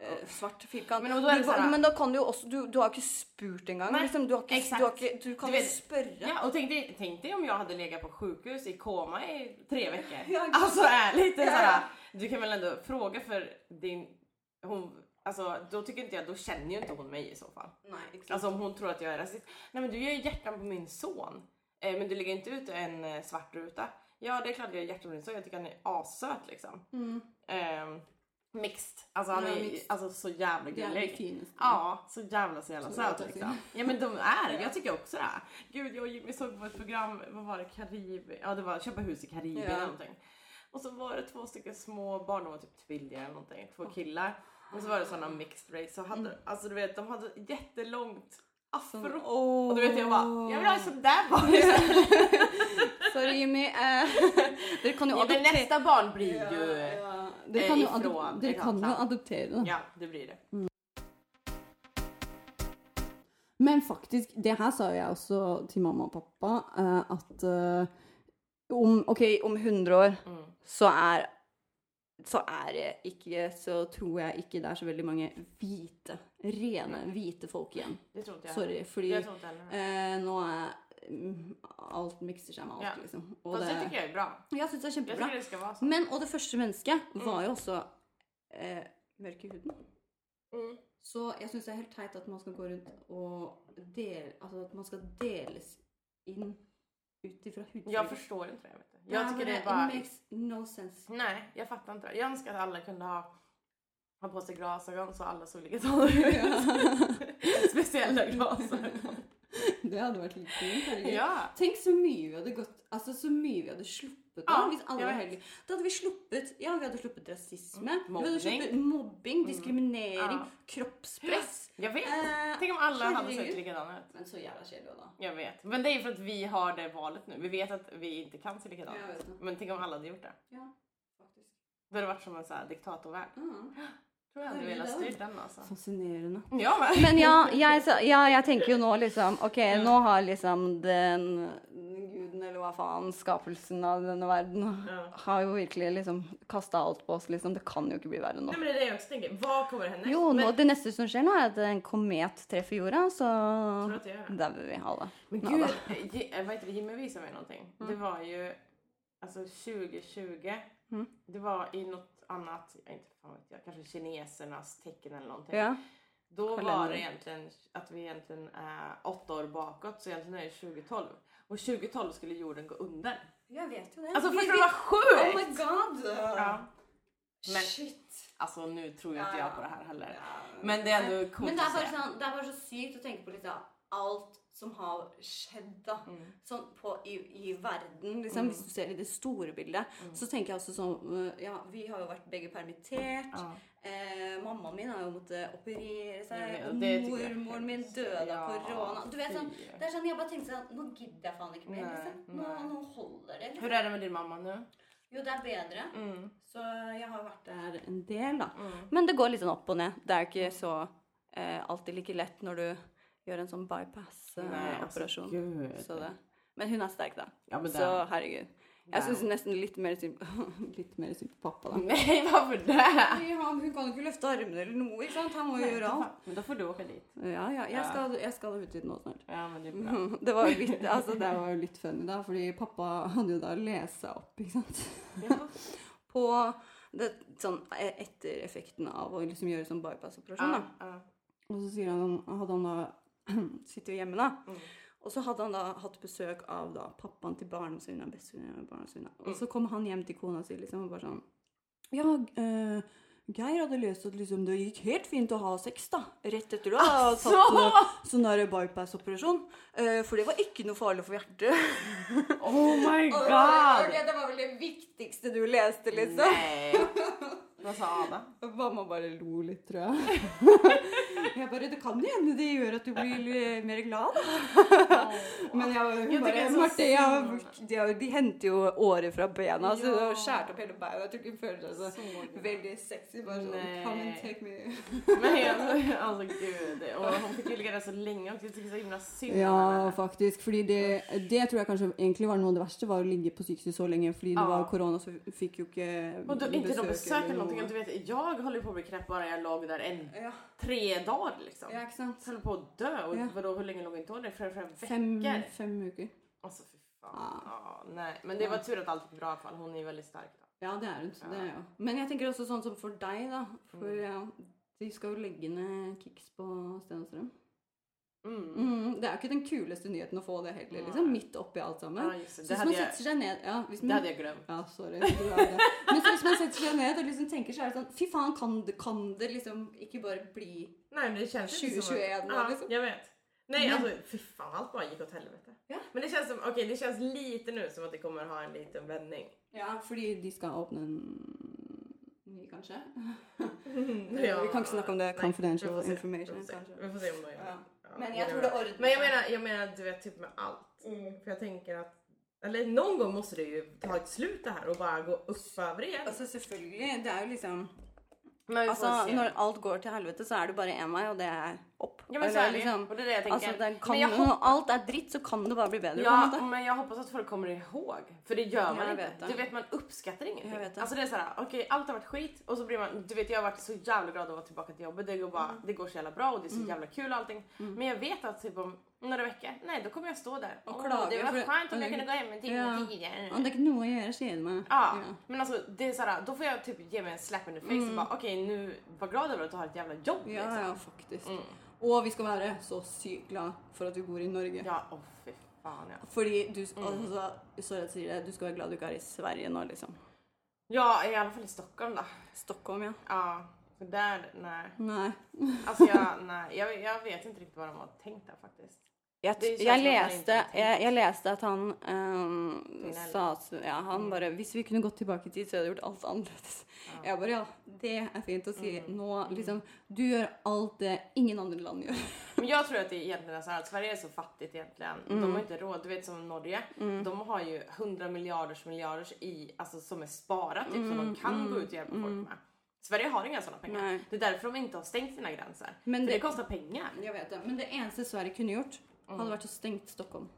[SPEAKER 1] eh, svart firkant.
[SPEAKER 2] Men og da er det
[SPEAKER 1] Du kan-
[SPEAKER 2] sånn her-
[SPEAKER 1] men da kan du jo også Du, du har ikke spurt engang.
[SPEAKER 2] Nei,
[SPEAKER 1] liksom, du, har ikke,
[SPEAKER 2] exakt.
[SPEAKER 1] du, har ikke, du kan
[SPEAKER 2] Du
[SPEAKER 1] jo
[SPEAKER 2] vet-
[SPEAKER 1] spørre.
[SPEAKER 2] Ja, och tänk dig, tänk dig om jag hade legat på sjukhus i koma i tre veckor.
[SPEAKER 1] Ja, exakt.
[SPEAKER 2] Alltså ärligt, det är
[SPEAKER 1] Ja,
[SPEAKER 2] såhär, du kan väl ändå fråga för din... Hon, alltså, då tycker inte jag, då känner ju inte hon mig i så fall.
[SPEAKER 1] Nei, ikke sant.
[SPEAKER 2] Alltså om hon tror att jag är rasist. Nej men du gör ju hjärtan på min son. Eh, men du lägger inte ut en eh, svart ruta. Ja det är klart jag gör hjärtan på din son, jag tycker han är assöt liksom.
[SPEAKER 1] Mm.
[SPEAKER 2] Eh, mixed. Alltså han
[SPEAKER 1] Ja,
[SPEAKER 2] är
[SPEAKER 1] mixed.
[SPEAKER 2] Alltså, så jävla
[SPEAKER 1] Det er det
[SPEAKER 2] gullig.
[SPEAKER 1] fineste.
[SPEAKER 2] Ja, så jävla så jävla
[SPEAKER 1] Så jävla
[SPEAKER 2] söt liksom.
[SPEAKER 1] fin.
[SPEAKER 2] Ja men de är, jag tycker också det. Gud jag och Jimmy såg på ett program, vad var det, Karib... Ja det var köpa hus i Karibien
[SPEAKER 1] Ja.
[SPEAKER 2] eller någonting. Och så var det två stycken små barn, de var typ tvillingar eller någonting, två killar. Och så var det sådana mixed race, så hade, alltså du vet de hade jättelångt afro.
[SPEAKER 1] Sånn,
[SPEAKER 2] Och du vet jag bara, jag vill ha en sånn- sån där barn
[SPEAKER 1] Sorry, Jimmy. Eh, dere kan jo
[SPEAKER 2] ja, men
[SPEAKER 1] adoptere
[SPEAKER 2] nästa barn blir ju...
[SPEAKER 1] Dere kan jo,
[SPEAKER 2] eh,
[SPEAKER 1] adop
[SPEAKER 2] ifrån
[SPEAKER 1] dere
[SPEAKER 2] ett
[SPEAKER 1] kan
[SPEAKER 2] annat
[SPEAKER 1] jo
[SPEAKER 2] land.
[SPEAKER 1] adoptere, da.
[SPEAKER 2] Ja, det blir det.
[SPEAKER 1] Men faktisk, det her sa jeg også til mamma og pappa, eh, at eh, om, ok, om 100 år
[SPEAKER 2] Mm.
[SPEAKER 1] så er så er det ikke Så tror jeg ikke det er så veldig mange hvite, rene hvite folk igjen.
[SPEAKER 2] Det tror inte jag.
[SPEAKER 1] Sorry, fordi
[SPEAKER 2] Jag tror inte heller.
[SPEAKER 1] eh, nå er mm, Alt mikser seg med alt,
[SPEAKER 2] Ja. Altså,
[SPEAKER 1] liksom. Og
[SPEAKER 2] Fast det tycker
[SPEAKER 1] det,
[SPEAKER 2] jag är bra.
[SPEAKER 1] jeg syns det er
[SPEAKER 2] Jag
[SPEAKER 1] kjempebra.
[SPEAKER 2] tycker det ska vara så.
[SPEAKER 1] Men, og det første mennesket var jo også eh, mørk i huden.
[SPEAKER 2] Mm.
[SPEAKER 1] Så jeg syns det er helt teit at man skal gå rundt og dele Altså at man skal deles inn ut ifra hudfarge.
[SPEAKER 2] Jag förstår inte det. Vet du. Jag
[SPEAKER 1] Ja,
[SPEAKER 2] tycker det
[SPEAKER 1] men
[SPEAKER 2] är bara...
[SPEAKER 1] It makes no sense.
[SPEAKER 2] Nej, jag fattar inte det. Jag önskar att alla kunde ha, ha på sig glasögon så alla såg likadana ut. Speciella glasögon.
[SPEAKER 1] Det hadde vært litt fint. herregud.
[SPEAKER 2] ja.
[SPEAKER 1] Tenk så mye vi hadde gått Altså så mye vi hadde sluppet da,
[SPEAKER 2] Ja,
[SPEAKER 1] hvis alle
[SPEAKER 2] jeg
[SPEAKER 1] var
[SPEAKER 2] vet.
[SPEAKER 1] heldige. Da hadde vi sluppet Ja, vi hadde sluppet rasisme. Vi
[SPEAKER 2] Mobbing.
[SPEAKER 1] hadde sluppet mobbing, diskriminering,
[SPEAKER 2] Ja.
[SPEAKER 1] kroppspress.
[SPEAKER 2] Jag vet.
[SPEAKER 1] Eh,
[SPEAKER 2] Tänk om alla hade
[SPEAKER 1] herregud.
[SPEAKER 2] sett likadana ut.
[SPEAKER 1] Men så jævla kjedelig også, da.
[SPEAKER 2] Jag vet. Men det är för att vi har det valet nu. Vi vet att vi inte kan se likadana
[SPEAKER 1] Ja, jag
[SPEAKER 2] ut.
[SPEAKER 1] vet det.
[SPEAKER 2] Men tänk om alla hade gjort det.
[SPEAKER 1] Ja, faktisk.
[SPEAKER 2] Då hade det varit som en så här diktatorvärld.
[SPEAKER 1] Ja.
[SPEAKER 2] Tror jag hade
[SPEAKER 1] Herregud,
[SPEAKER 2] velat
[SPEAKER 1] det
[SPEAKER 2] styra den alltså.
[SPEAKER 1] Fascinerende.
[SPEAKER 2] Ja, men.
[SPEAKER 1] Men ja jeg, sa- ja, jeg tenker jo nå liksom Ok, nå har liksom den guden eller jo hva faen, skapelsen av denne verden. og
[SPEAKER 2] Ja.
[SPEAKER 1] Har jo virkelig liksom kasta alt på oss, liksom. Det kan jo ikke bli verre nå.
[SPEAKER 2] Nej, men det är det jag också tänker. Vad kommer hända?
[SPEAKER 1] Jo,
[SPEAKER 2] men,
[SPEAKER 1] nå, det neste som skjer nå, er at en komet treffer jorda, så
[SPEAKER 2] Tror att det gör.
[SPEAKER 1] dauer vi alle.
[SPEAKER 2] men
[SPEAKER 1] Ja,
[SPEAKER 2] gud,
[SPEAKER 1] da.
[SPEAKER 2] Ji- eh, vad heter det? Jimmy visade mig någonting. Det var ju alltså 2020.
[SPEAKER 1] Mm.
[SPEAKER 2] Det var i något annat, jag inte fan vet jag, kanske kinesernas tecken eller någonting.
[SPEAKER 1] Ja.
[SPEAKER 2] Då var
[SPEAKER 1] Kalender.
[SPEAKER 2] det egentligen att vi egentligen är åtta år bakåt, så egentligen är det 2012. Och 2012 skulle jorden gå under.
[SPEAKER 1] Jeg vet jo det. Oh
[SPEAKER 2] Alltså förstår du vad sjukt?
[SPEAKER 1] god!
[SPEAKER 2] Ja. Men-
[SPEAKER 1] Shit.
[SPEAKER 2] Alltså nu tror jag inte
[SPEAKER 1] Ja,
[SPEAKER 2] jag
[SPEAKER 1] ja.
[SPEAKER 2] på det här heller. Men det är ändå coolt
[SPEAKER 1] Men det er,
[SPEAKER 2] att
[SPEAKER 1] bare
[SPEAKER 2] se.
[SPEAKER 1] sånn, det er bare så sykt å tenke på litt av alt som har skjedd da.
[SPEAKER 2] Mm.
[SPEAKER 1] Sånn på, i, i verden, liksom, hvis du ser i det store bildet.
[SPEAKER 2] Mm.
[SPEAKER 1] Så tenker jeg også sånn øh, Ja, vi har jo vært begge permittert.
[SPEAKER 2] Ja.
[SPEAKER 1] Eh, mammaen min har jo måttet operere seg.
[SPEAKER 2] Ja,
[SPEAKER 1] Og
[SPEAKER 2] det tycker jag är
[SPEAKER 1] mormoren min
[SPEAKER 2] hemskt.
[SPEAKER 1] døde av
[SPEAKER 2] Ja,
[SPEAKER 1] korona. Du vet sånn,
[SPEAKER 2] fy.
[SPEAKER 1] det er sånn, Jeg bare tenkte sånn Nå gidder jeg faen ikke mer.
[SPEAKER 2] Nej,
[SPEAKER 1] liksom. Nå,
[SPEAKER 2] nej.
[SPEAKER 1] nå holder det.
[SPEAKER 2] Hur
[SPEAKER 1] Liksom.
[SPEAKER 2] är det med din mamma nu?
[SPEAKER 1] Jo, det er bedre.
[SPEAKER 2] Mm.
[SPEAKER 1] Så jeg har vært der en del, da. Men det går litt sånn opp og ned. Det er ikke så eh, alltid like lett når du gjør en sånn
[SPEAKER 2] Nej, alltså,
[SPEAKER 1] bypass-operasjon.
[SPEAKER 2] gud.
[SPEAKER 1] så det. altså, Men hun er sterk, da.
[SPEAKER 2] altså Ja, men
[SPEAKER 1] Så
[SPEAKER 2] det-
[SPEAKER 1] herregud.
[SPEAKER 2] det-
[SPEAKER 1] Jeg syns nesten litt mer synd på- litt mer synd på pappa, da.
[SPEAKER 2] Nej, varför det?
[SPEAKER 1] Ja, men hun kan jo ikke løfte armene eller noe, ikke sant? Han må jo
[SPEAKER 2] Nej,
[SPEAKER 1] gjøre alt.
[SPEAKER 2] Men då får du åka dit.
[SPEAKER 1] Ja, ja. Jeg skal, jeg skal ut dit nå snart.
[SPEAKER 2] Ja, men det är bra.
[SPEAKER 1] Det var jo litt, altså, det var jo litt funny, da, fordi pappa hadde jo da lesa opp, ikke sant på det, sånn, e- etter effekten av å liksom gjøre sånn bypass-operasjon.
[SPEAKER 2] Ja,
[SPEAKER 1] da.
[SPEAKER 2] ja.
[SPEAKER 1] Og så sier han, hadde han da sitter jo hjemme, da.
[SPEAKER 2] Mm.
[SPEAKER 1] Og så hadde han da hatt besøk av da, pappaen til barndomsvenninna, bestevenninna og barndomsvenninna. Og så kom han hjem til kona si liksom, og bare sånn Ja, eh, Geir hadde lest at liksom, det gikk helt fint å ha sex, da. Rett etter du har tatt eh, sånn der bypass-operasjon. Eh, for det var ikke noe farlig for hjertet.
[SPEAKER 2] Oh my
[SPEAKER 1] Og-
[SPEAKER 2] god!
[SPEAKER 1] Det var vel det viktigste du leste, liksom.
[SPEAKER 2] Nej. Vad sa Ada?
[SPEAKER 1] Og Mamma bare lo litt, tror jeg. jeg bare, Det kan jo hende det gjør at du blir eh, mer glad, da. Men jeg, hun
[SPEAKER 2] Jeg tenker
[SPEAKER 1] bare
[SPEAKER 2] det er så
[SPEAKER 1] Marte, jeg, har-
[SPEAKER 2] synd.
[SPEAKER 1] de, har- de henter jo året fra bena, så
[SPEAKER 2] Ja.
[SPEAKER 1] hun har skåret opp hele beinet. Jeg tror ikke hun føler seg
[SPEAKER 2] Så
[SPEAKER 1] så
[SPEAKER 2] gøy.
[SPEAKER 1] veldig sexy. bare sånn,
[SPEAKER 2] Nei.
[SPEAKER 1] come and take me.
[SPEAKER 2] Nej, alltså, alltså altså, gud. Och hon fick ju ligga där så länge också. Jag tycker det är så himla synd om henne.
[SPEAKER 3] Ja, faktisk. Fordi det, det tror jeg kanskje egentlig var noe av det verste, var å ligge på sykehuset så lenge. Fordi det
[SPEAKER 2] Ja.
[SPEAKER 3] var korona, så fikk jo ikke
[SPEAKER 2] Och då, inte de besöker
[SPEAKER 3] eller
[SPEAKER 2] någonting. Du vet, jag höll ju på att bli knäpp bara jeg låg där en,
[SPEAKER 1] Ja,
[SPEAKER 2] tre dagar liksom.
[SPEAKER 1] ja ikke sant?
[SPEAKER 2] Höll på att dö. Och
[SPEAKER 3] Ja.
[SPEAKER 2] vadå, hur länge låg inte hon där? Flera, flera veckor?
[SPEAKER 3] Fem, fem uker.
[SPEAKER 2] Alltså Altså, fy fan. Ja, nej. Men det var tur att allt gick bra i alla fall. Hon är ju väldigt stark. Då.
[SPEAKER 1] Ja, det er hun. så Det er jo. Men jeg tenker også sånn som for deg, da. For
[SPEAKER 2] Mm.
[SPEAKER 1] ja, de skal jo legge ned Kicks på Sten og Strøm.
[SPEAKER 2] Mm.
[SPEAKER 1] Mm, det er jo ikke den kuleste nyheten å få det heller, liksom. Midt oppi alt sammen.
[SPEAKER 2] Ja, just det.
[SPEAKER 1] Så
[SPEAKER 2] Det
[SPEAKER 1] hvis man
[SPEAKER 2] hade jag,
[SPEAKER 1] setter seg ned ja, hvis
[SPEAKER 2] det
[SPEAKER 1] man,
[SPEAKER 2] hade jag glömt.
[SPEAKER 1] ja, sorry. du er det. Men så hvis man setter seg ned og liksom tenker, så er det sånn Fy faen, kan det, kan det liksom ikke bare bli
[SPEAKER 2] Nej, men det känns inte som
[SPEAKER 1] 2021
[SPEAKER 2] ja,
[SPEAKER 1] liksom?
[SPEAKER 2] jag vet. Nej,
[SPEAKER 1] Men-
[SPEAKER 2] alltså fy fan allt bara gick åt helvete.
[SPEAKER 1] Ja.
[SPEAKER 2] Men det känns som, okej det känns lite nu som att det kommer ha en liten vändning.
[SPEAKER 1] Ja, fordi de skal åpne en ny, kanskje?
[SPEAKER 2] Ja,
[SPEAKER 1] Mm. Vi kan ikke snakke om det.
[SPEAKER 2] nej,
[SPEAKER 3] Confidential
[SPEAKER 2] vi får se,
[SPEAKER 3] information,
[SPEAKER 2] Vi får se,
[SPEAKER 1] kanske.
[SPEAKER 2] vi får se om de gör
[SPEAKER 1] Ja.
[SPEAKER 2] det. Ja,
[SPEAKER 1] Men
[SPEAKER 2] det
[SPEAKER 1] jag
[SPEAKER 2] kan
[SPEAKER 1] tror
[SPEAKER 2] vara.
[SPEAKER 1] det Mm. ordnar
[SPEAKER 2] Men jag
[SPEAKER 1] sig.
[SPEAKER 2] menar, jag menar du vet typ med allt. För jag tänker att, eller någon gång måste det ju ta ett slut det här och bara gå upp över igen.
[SPEAKER 1] Altså, selvfølgelig. Det er jo liksom
[SPEAKER 2] Men vi får
[SPEAKER 1] Altså,
[SPEAKER 2] se.
[SPEAKER 1] når alt går til helvete, så er det bare én vei, og det er opp.
[SPEAKER 2] Ja, men så
[SPEAKER 1] Eller
[SPEAKER 2] är det ju.
[SPEAKER 1] liksom-
[SPEAKER 2] Och det är det jag tänker.
[SPEAKER 1] Altså, det kan,
[SPEAKER 2] men jag
[SPEAKER 1] jo-
[SPEAKER 2] hoppas-
[SPEAKER 1] når alt er dritt, så kan det bare bli bedre. på en
[SPEAKER 2] Ja,
[SPEAKER 1] måte.
[SPEAKER 2] men jag hoppas att folk kommer ihåg. För det gör man
[SPEAKER 1] jag
[SPEAKER 2] inte.
[SPEAKER 1] vet det.
[SPEAKER 2] Du vet, man uppskattar ingenting.
[SPEAKER 1] Jag vet det.
[SPEAKER 2] Alltså det sånn är såhär, okej allt har varit skit och så blir man, du vet jag har varit så jävla glad att vara tillbaka till jobbet. Det går, bara,
[SPEAKER 1] Mm.
[SPEAKER 2] det går så jävla bra och det är så jävla kul och allting. Men jag vet att typ om några veckor, nej då kommer jag stå där.
[SPEAKER 1] Och
[SPEAKER 2] Åh,
[SPEAKER 1] klaga
[SPEAKER 2] det var
[SPEAKER 1] för det-
[SPEAKER 2] skönt om jag
[SPEAKER 1] eller-
[SPEAKER 2] kunde gå hem en timme
[SPEAKER 1] Ja.
[SPEAKER 2] tidigare.
[SPEAKER 1] Ja, det er ikke noe å gjøre, sier de meg.
[SPEAKER 2] Ja, men alltså det är såhär, då får jag typ ge mig en slap in the face och bara okej nu, var glad över att du har ett jävla jobb
[SPEAKER 1] Mm. Ja,
[SPEAKER 2] liksom.
[SPEAKER 1] ja, faktisk. Og vi skal være så sykt glad for at vi bor i Norge.
[SPEAKER 2] Ja, Mm. åh fy fan ja.
[SPEAKER 1] Fordi du, altså, sorry at jeg sier det, du skal være glad du ikke er i Sverige nå, liksom.
[SPEAKER 2] Ja, i alla fall i Stockholm då.
[SPEAKER 1] Stockholm, ja.
[SPEAKER 2] Ja, för där, nej.
[SPEAKER 1] Nei.
[SPEAKER 2] Alltså jag, nej, jag, jag vet inte riktigt vad de har tänkt där faktiskt.
[SPEAKER 1] Jeg,
[SPEAKER 2] Det
[SPEAKER 1] t-
[SPEAKER 2] kjennes
[SPEAKER 1] jeg,
[SPEAKER 2] som at han
[SPEAKER 1] leste,
[SPEAKER 2] ikke har tenkt.
[SPEAKER 1] jeg, jeg leste at han ehm,
[SPEAKER 2] Tinell.
[SPEAKER 1] sa at ja, han
[SPEAKER 2] Mm.
[SPEAKER 1] bare Hvis vi kunne gått tilbake i tid, så hadde jeg gjort alt annerledes. Jeg bare Ja, det er fint å si.
[SPEAKER 2] Mm.
[SPEAKER 1] Nå, liksom Du gjør alt det ingen andre land gjør.
[SPEAKER 2] Men jag tror att det egentligen är så här att Sverige är så fattigt egentligen.
[SPEAKER 1] Mm.
[SPEAKER 2] De har inte råd. Du vet som Norge. De har ju 100 miljarders miljarders i, alltså, som är sparat typ, som de kan gå ut och hjälpa folk med. Sverige har inga sådana pengar.
[SPEAKER 1] Mm, Nej.
[SPEAKER 2] Det är därför de inte har stängt sina gränser.
[SPEAKER 1] Men
[SPEAKER 2] För det,
[SPEAKER 1] det-
[SPEAKER 2] kostar pengar.
[SPEAKER 1] Jeg vet det. Men det eneste Sverige kunne gjort, hadde vært å stengt Stockholm.
[SPEAKER 2] Mm.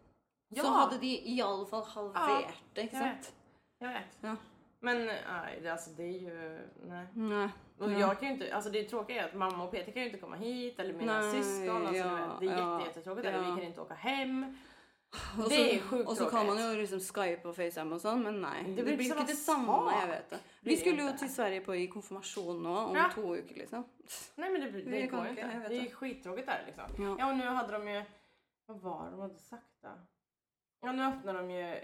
[SPEAKER 2] Ja.
[SPEAKER 1] Så hadde de iallfall halvert det, ikke
[SPEAKER 2] jeg
[SPEAKER 1] sant?
[SPEAKER 2] vet. Jag vet.
[SPEAKER 1] Ja.
[SPEAKER 2] Men nej, det, alltså det är ju... Nej.
[SPEAKER 1] Nei.
[SPEAKER 2] Och
[SPEAKER 1] Ja.
[SPEAKER 2] jag kan ju inte, alltså det tråkiga är att mamma och Peter kan ju inte komma hit eller mina
[SPEAKER 1] Nej,
[SPEAKER 2] syskon. Alltså,
[SPEAKER 1] ja,
[SPEAKER 2] du vet, det är
[SPEAKER 1] ja,
[SPEAKER 2] jätte, jättetråkigt. Eller vi
[SPEAKER 1] ja.
[SPEAKER 2] kan inte åka hem.
[SPEAKER 1] Og
[SPEAKER 2] Det er
[SPEAKER 1] så,
[SPEAKER 2] sjukt
[SPEAKER 1] og så kan man
[SPEAKER 2] tråkigt.
[SPEAKER 1] jo liksom Skype og FaceTime og sånn, men nei.
[SPEAKER 2] Det
[SPEAKER 1] Det
[SPEAKER 2] blir liksom
[SPEAKER 1] blir
[SPEAKER 2] ikke
[SPEAKER 1] ikke
[SPEAKER 2] samme
[SPEAKER 1] det samme.
[SPEAKER 2] sak.
[SPEAKER 1] jeg vet det.
[SPEAKER 2] Blir
[SPEAKER 1] Vi skulle jo
[SPEAKER 2] inte.
[SPEAKER 1] til Sverige på i konfirmasjon nå om
[SPEAKER 2] Ja.
[SPEAKER 1] to uker, liksom.
[SPEAKER 2] Nej men det, det,
[SPEAKER 1] Vi kan
[SPEAKER 2] går ju
[SPEAKER 1] inte, jag
[SPEAKER 2] inte.
[SPEAKER 1] vet
[SPEAKER 2] Det är
[SPEAKER 1] det.
[SPEAKER 2] skittråkigt där liksom.
[SPEAKER 1] Ja.
[SPEAKER 2] Ja och nu hade de ju... Vad var det de hade sagt då? Ja nu öppnar de ju...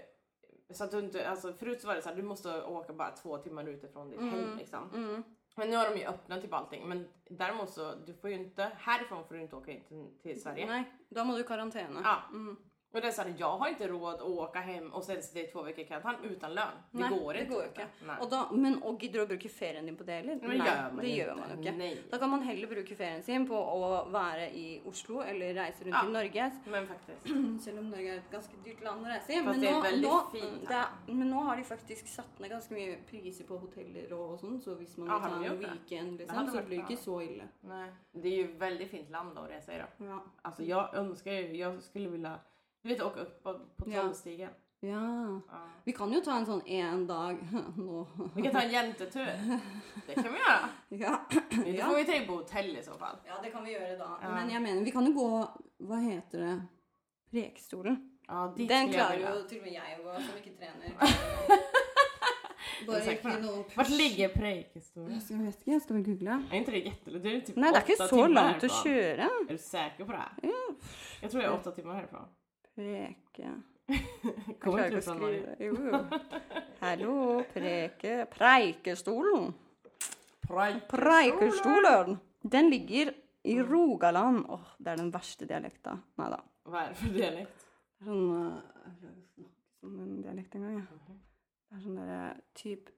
[SPEAKER 2] Så att du inte, alltså förut så var det så här, du måste åka bara två timmar utifrån ditt hem liksom.
[SPEAKER 1] Mm.
[SPEAKER 2] Men nu har de ju öppnat typ allting. Men däremot så, du får ju inte, härifrån får du inte åka in till, till Sverige.
[SPEAKER 1] Nei, da må du i karantene.
[SPEAKER 2] Ja.
[SPEAKER 1] Mm.
[SPEAKER 2] Och det är så här, jag har inte råd att åka hem och sen sitta i två veckor i karantän utan lön. Det
[SPEAKER 1] Nei,
[SPEAKER 2] går
[SPEAKER 1] det
[SPEAKER 2] inte.
[SPEAKER 1] går jo
[SPEAKER 2] vet du.
[SPEAKER 1] ikke.
[SPEAKER 2] Nej.
[SPEAKER 1] Og da, men og gidder du å bruke ferien din på det heller?
[SPEAKER 2] Men det
[SPEAKER 1] Nei,
[SPEAKER 2] gör man
[SPEAKER 1] det
[SPEAKER 2] ju
[SPEAKER 1] gjør
[SPEAKER 2] inte.
[SPEAKER 1] man jo ikke.
[SPEAKER 2] Nej.
[SPEAKER 1] Da kan man heller bruke ferien sin på å være i Oslo eller reise rundt
[SPEAKER 2] Ja.
[SPEAKER 1] i Norge.
[SPEAKER 2] Men faktiskt.
[SPEAKER 1] Selv om Norge er et ganske dyrt land å reise i.
[SPEAKER 2] Fast
[SPEAKER 1] Men,
[SPEAKER 2] det er
[SPEAKER 1] nå,
[SPEAKER 2] veldig
[SPEAKER 1] nå,
[SPEAKER 2] fint,
[SPEAKER 1] det
[SPEAKER 2] da.
[SPEAKER 1] er, men nå har de faktisk satt ned ganske mye priser på hoteller og, og sånn, så hvis man
[SPEAKER 2] Ja,
[SPEAKER 1] vil
[SPEAKER 2] har
[SPEAKER 1] ta
[SPEAKER 2] de
[SPEAKER 1] en
[SPEAKER 2] gjort det?
[SPEAKER 1] weekend,
[SPEAKER 2] hadde
[SPEAKER 1] liksom, så
[SPEAKER 2] vært
[SPEAKER 1] blir det
[SPEAKER 2] bra.
[SPEAKER 1] ikke så ille.
[SPEAKER 2] Nej. Det är ju ett väldigt fint land att resa i då.
[SPEAKER 1] Ja.
[SPEAKER 2] Alltså jag önskar ju, jag skulle vilja, du vet åka upp på, på
[SPEAKER 1] Ja.
[SPEAKER 2] Trollstigen. Ja.
[SPEAKER 1] Vi kan jo ta en sånn én dag nå.
[SPEAKER 2] Vi kan ta en jentetur. Det kan vi göra.
[SPEAKER 1] Ja.
[SPEAKER 2] Då
[SPEAKER 1] Ja.
[SPEAKER 2] får vi ta in på hotell i så fall.
[SPEAKER 1] ja, det kan vi gjøre da.
[SPEAKER 2] Ja.
[SPEAKER 1] Men jeg mener, vi kan jo gå Hva heter det? Prekestolen.
[SPEAKER 2] Ja, dit
[SPEAKER 1] Den
[SPEAKER 2] skulle jag
[SPEAKER 1] klarer
[SPEAKER 2] vilja.
[SPEAKER 1] jo til og med jeg å gå, som ikke trener.
[SPEAKER 2] Det är
[SPEAKER 1] Bare
[SPEAKER 2] säkert
[SPEAKER 1] ikke
[SPEAKER 2] bra.
[SPEAKER 1] noen
[SPEAKER 2] Vart ligger Preikestolen?
[SPEAKER 1] Jeg skal- jeg vet ikke, jeg skal vel google.
[SPEAKER 2] Är inte det jättelångt? Det är typ
[SPEAKER 1] Nei, det er
[SPEAKER 2] åtta
[SPEAKER 1] ikke så
[SPEAKER 2] timmar
[SPEAKER 1] langt å
[SPEAKER 2] härifrån.
[SPEAKER 1] kjøre.
[SPEAKER 2] Är du säker på det? här? Jag tror jag är åtta timmar härifrån.
[SPEAKER 1] Preke Jeg
[SPEAKER 2] Kommer
[SPEAKER 1] klarer
[SPEAKER 2] inte
[SPEAKER 1] ikke
[SPEAKER 2] du
[SPEAKER 1] å
[SPEAKER 2] från Marie?
[SPEAKER 1] skrive. Jo. Hallo, preke... Preikestolen. Preikestolen. Den ligger i
[SPEAKER 2] Mm.
[SPEAKER 1] Rogaland. Åh, det er den verste dialekta. Nei da.
[SPEAKER 2] Vad är det för dialekt?
[SPEAKER 1] Det er sånn eh, Jeg klarer ikke å snakke som en dialekt engang, jeg. Det er sånn derre typ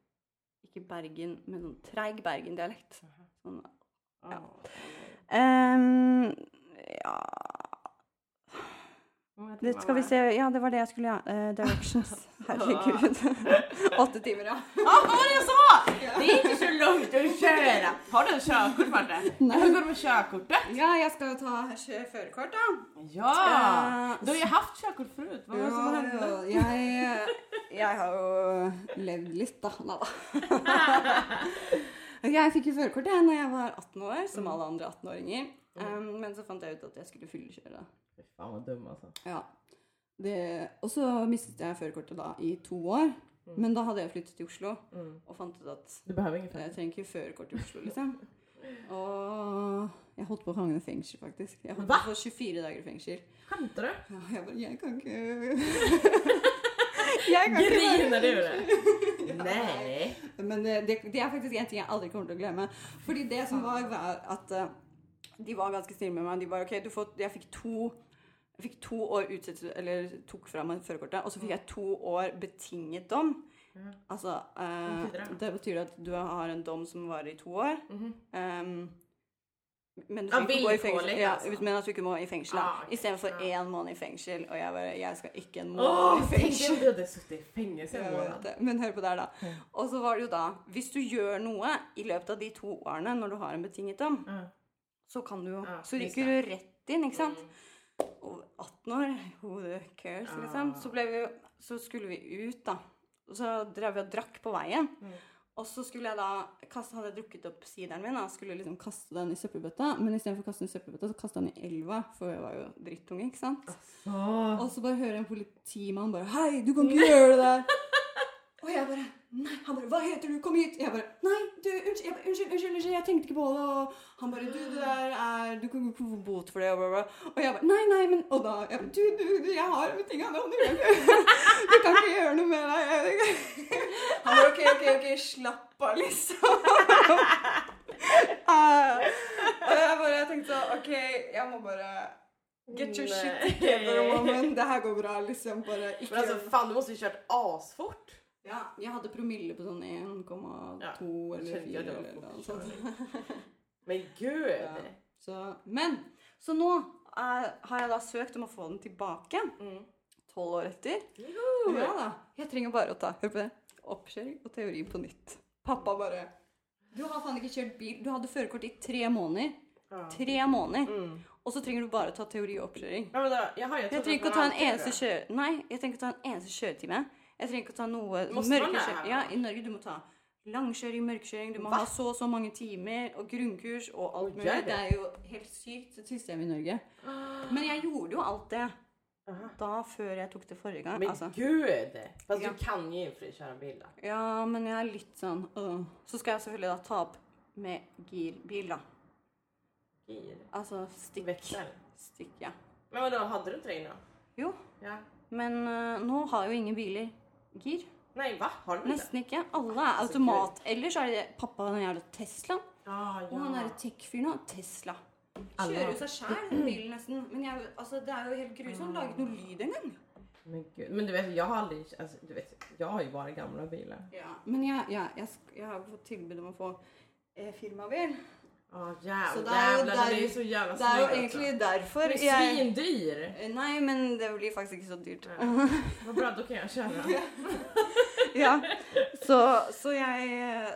[SPEAKER 1] Ikke Bergen, men sånn treig Bergen-dialekt. Sånn
[SPEAKER 2] Ja.
[SPEAKER 1] Ehm, ja
[SPEAKER 2] Hur många timmar
[SPEAKER 1] det Skal vi
[SPEAKER 2] var
[SPEAKER 1] se Ja, det var det jeg skulle gjøre. Eh, directions. Herregud. Åtte timer, ja.
[SPEAKER 2] det? Ja, vad var det jag sa? Det är inte så långt att köra. Har du körkort Marte? Hur går det med körkortet?
[SPEAKER 1] Ja, jeg skal jo ta førerkort, da.
[SPEAKER 2] Ja!
[SPEAKER 1] Eh,
[SPEAKER 2] Du har ju haft körkort förut. Vad var det som
[SPEAKER 1] Ja,
[SPEAKER 2] hände?
[SPEAKER 1] ja. Jeg, jeg har jo levd litt, da. Nei da. Jeg fikk jo førerkort jeg, når jeg var 18 år, som alle andre 18-åringer. Ehm, men så fant jeg ut at jeg skulle fyllekjøre.
[SPEAKER 2] Fy Fan vad dum altså. alltså.
[SPEAKER 1] Ja. Det, og så mistet jag førerkortet da i to år. Men da hadde jeg flyttet til Oslo og fant ut at
[SPEAKER 2] Du behöver inget
[SPEAKER 1] jeg trenger ikke førerkort i Oslo, liksom. Og jeg holdt på å havne i fengsel, faktisk. Jeg holdt på å få 24 dager i fengsel.
[SPEAKER 2] Skämtar du?
[SPEAKER 1] Ja, jeg bare Jeg kan ikke Jeg kan ikke
[SPEAKER 2] Grinar du det? Nej.
[SPEAKER 1] Men eh, det, det er faktisk en ting jeg aldri kommer til å glemme. Fordi det
[SPEAKER 2] Ah.
[SPEAKER 1] som var, var at eh, de var ganske snille med meg. De bare OK, du får, jeg fikk to jeg fikk to år utsettelse, eller tok fra meg førerkortet,
[SPEAKER 2] Mm.
[SPEAKER 1] og så fikk jeg to år betinget dom. Altså eh,
[SPEAKER 2] betyr Mm. det?
[SPEAKER 1] Det betyr at du har en dom som varer i to år. Ehm, men du
[SPEAKER 2] Ja,
[SPEAKER 1] skal ikke gå i
[SPEAKER 2] vilkårlig,
[SPEAKER 1] fengsel. Ja,
[SPEAKER 2] altså.
[SPEAKER 1] men at du ikke må i fengsel. da.
[SPEAKER 2] Ah, ok.
[SPEAKER 1] Istedenfor
[SPEAKER 2] Ja.
[SPEAKER 1] én måned i fengsel, och jag bare Jeg skal ikke en måned
[SPEAKER 2] Åh,
[SPEAKER 1] i
[SPEAKER 2] tänk
[SPEAKER 1] fengsel.
[SPEAKER 2] om du hade suttit i fängelse en
[SPEAKER 1] Jeg vet
[SPEAKER 2] månad.
[SPEAKER 1] det. Men hør på det her, da. Og så var det jo da Hvis du gjør noe i løpet av de to årene når du har en betinget dom,
[SPEAKER 2] Ja.
[SPEAKER 1] så kan du jo
[SPEAKER 2] Ja,
[SPEAKER 1] Så
[SPEAKER 2] just
[SPEAKER 1] ryker du rett inn, ikke sant? Og 18 år Who the cares, liksom? Så ble vi jo Så skulle vi ut, da. Og så drev vi og drakk på veien. Og så skulle jeg da kaste, Hadde jeg drukket opp sideren min, da, skulle liksom kaste den i søppelbøtta. Men istedenfor å kaste den i søppelbøtta, så kastet jeg den i elva, for jeg var jo drittunge, ikke sant?
[SPEAKER 2] Åh.
[SPEAKER 1] Og så bare hører jeg en politimann bare 'Hei, du kan ikke gjøre det der'. Og jeg bare Nei. Han bare 'Hva heter du? Kom hit.' Jeg bare 'Nei, du, unnskyld, jeg, bare, unnskyld, unnskyld, unnskyld, jeg tenkte ikke på det', og han bare 'Du, det der er Du kan ikke få bot for det', og bla, bla. Og jeg bare 'Nei, nei, men Og da jeg bare, 'Du, du, du, jeg har betinga dom, du kan ikke Du kan ikke gjøre noe med deg', jeg vet ikke. Han bare 'OK, OK, ok, slapp av', liksom. Eh, og jeg bare jeg tenkte sånn OK, jeg må bare Get your shit
[SPEAKER 2] Nej.
[SPEAKER 1] together, woman. Det her går bra, liksom. Bare ikke
[SPEAKER 2] Men altså, alltså fan du måste ju kört asfort.
[SPEAKER 1] ja, Jeg hadde promille på sånn 1,2
[SPEAKER 2] Ja,
[SPEAKER 1] eller
[SPEAKER 2] kjente
[SPEAKER 1] 4
[SPEAKER 2] jeg det var
[SPEAKER 1] eller noe
[SPEAKER 2] fort.
[SPEAKER 1] sånt.
[SPEAKER 2] altså. Men gud.
[SPEAKER 1] Ja. Så, men så nå eh, har jeg da søkt om å få den tilbake.
[SPEAKER 2] Mm.
[SPEAKER 1] Tolv år etter.
[SPEAKER 2] Jo.
[SPEAKER 1] Ja da. Jeg trenger bare å ta hør på det, oppkjøring og teori på nytt. Pappa bare Du har faen ikke kjørt bil. Du hadde førerkort i tre måneder.
[SPEAKER 2] Ja.
[SPEAKER 1] Tre måneder. Og så trenger du bare ta teori og oppkjøring.
[SPEAKER 2] Mm. Ja, men da, jaha, jeg
[SPEAKER 1] Jeg
[SPEAKER 2] trodde
[SPEAKER 1] trenger ikke
[SPEAKER 2] at
[SPEAKER 1] å ta
[SPEAKER 2] man
[SPEAKER 1] en E
[SPEAKER 2] alltid
[SPEAKER 1] eneste
[SPEAKER 2] gjorde det.
[SPEAKER 1] kjøre... Nei, jeg trenger ikke å ta en eneste kjøretime. Jeg trenger ikke å ta noe
[SPEAKER 2] Måste man det
[SPEAKER 1] mørkekjøring.
[SPEAKER 2] her?
[SPEAKER 1] Ja, I Norge du må ta langkjøring, mørkekjøring, du må
[SPEAKER 2] Va?
[SPEAKER 1] ha så og så mange timer, og grunnkurs og alt
[SPEAKER 2] Å,
[SPEAKER 1] mulig.
[SPEAKER 2] gjør Ah. det?
[SPEAKER 1] Det er jo helt sykt et system i Norge. Men jeg gjorde jo alt det
[SPEAKER 2] Aha.
[SPEAKER 1] da før jeg tok det forrige gang.
[SPEAKER 2] Men
[SPEAKER 1] altså.
[SPEAKER 2] gud! Fast
[SPEAKER 1] Ja.
[SPEAKER 2] du kan ju i och för sig köra bil då.
[SPEAKER 1] Ja, men jeg er litt sånn øh. Så skal jeg selvfølgelig da ta opp med girbil, da.
[SPEAKER 2] Gir.
[SPEAKER 1] Altså stikk.
[SPEAKER 2] Växel.
[SPEAKER 1] Stikk, ja.
[SPEAKER 2] Men vadå, hade du inte det innan?
[SPEAKER 1] Jo,
[SPEAKER 2] Ja.
[SPEAKER 1] men øh, nå har jo ingen biler gir.
[SPEAKER 2] Nej, va? Har du inte?
[SPEAKER 1] Nesten Altså, ikke. Alle er automat. Ellers er det pappa og den jævla Teslaen.
[SPEAKER 2] Ah,
[SPEAKER 1] Og han derre tech-fyren har Tesla. Kjører jo seg sjæl, den bilen nesten. Men jeg, altså, det er jo helt grusomt. Han laget noe lyd engang.
[SPEAKER 2] Men gud, men du vet, jag har aldrig, alltså, du vet, jag har ju bara gamla bilar.
[SPEAKER 1] Ja. Men jeg, ja, jeg, sk- jeg har fått tilbud om å få eh, firmabil.
[SPEAKER 2] Ja, jävlar,
[SPEAKER 1] Så det är ju
[SPEAKER 2] jävlar, den
[SPEAKER 1] där-
[SPEAKER 2] är ju så altså. jävla
[SPEAKER 1] Det er jo
[SPEAKER 2] snygg
[SPEAKER 1] egentlig
[SPEAKER 2] också. Den
[SPEAKER 1] derfor
[SPEAKER 2] är
[SPEAKER 1] jeg Eh,
[SPEAKER 2] svindyr!
[SPEAKER 1] Nei, men det blir faktisk ikke så dyrt.
[SPEAKER 2] Vad bra, då kan jag köra.
[SPEAKER 1] Ja. Så, så jeg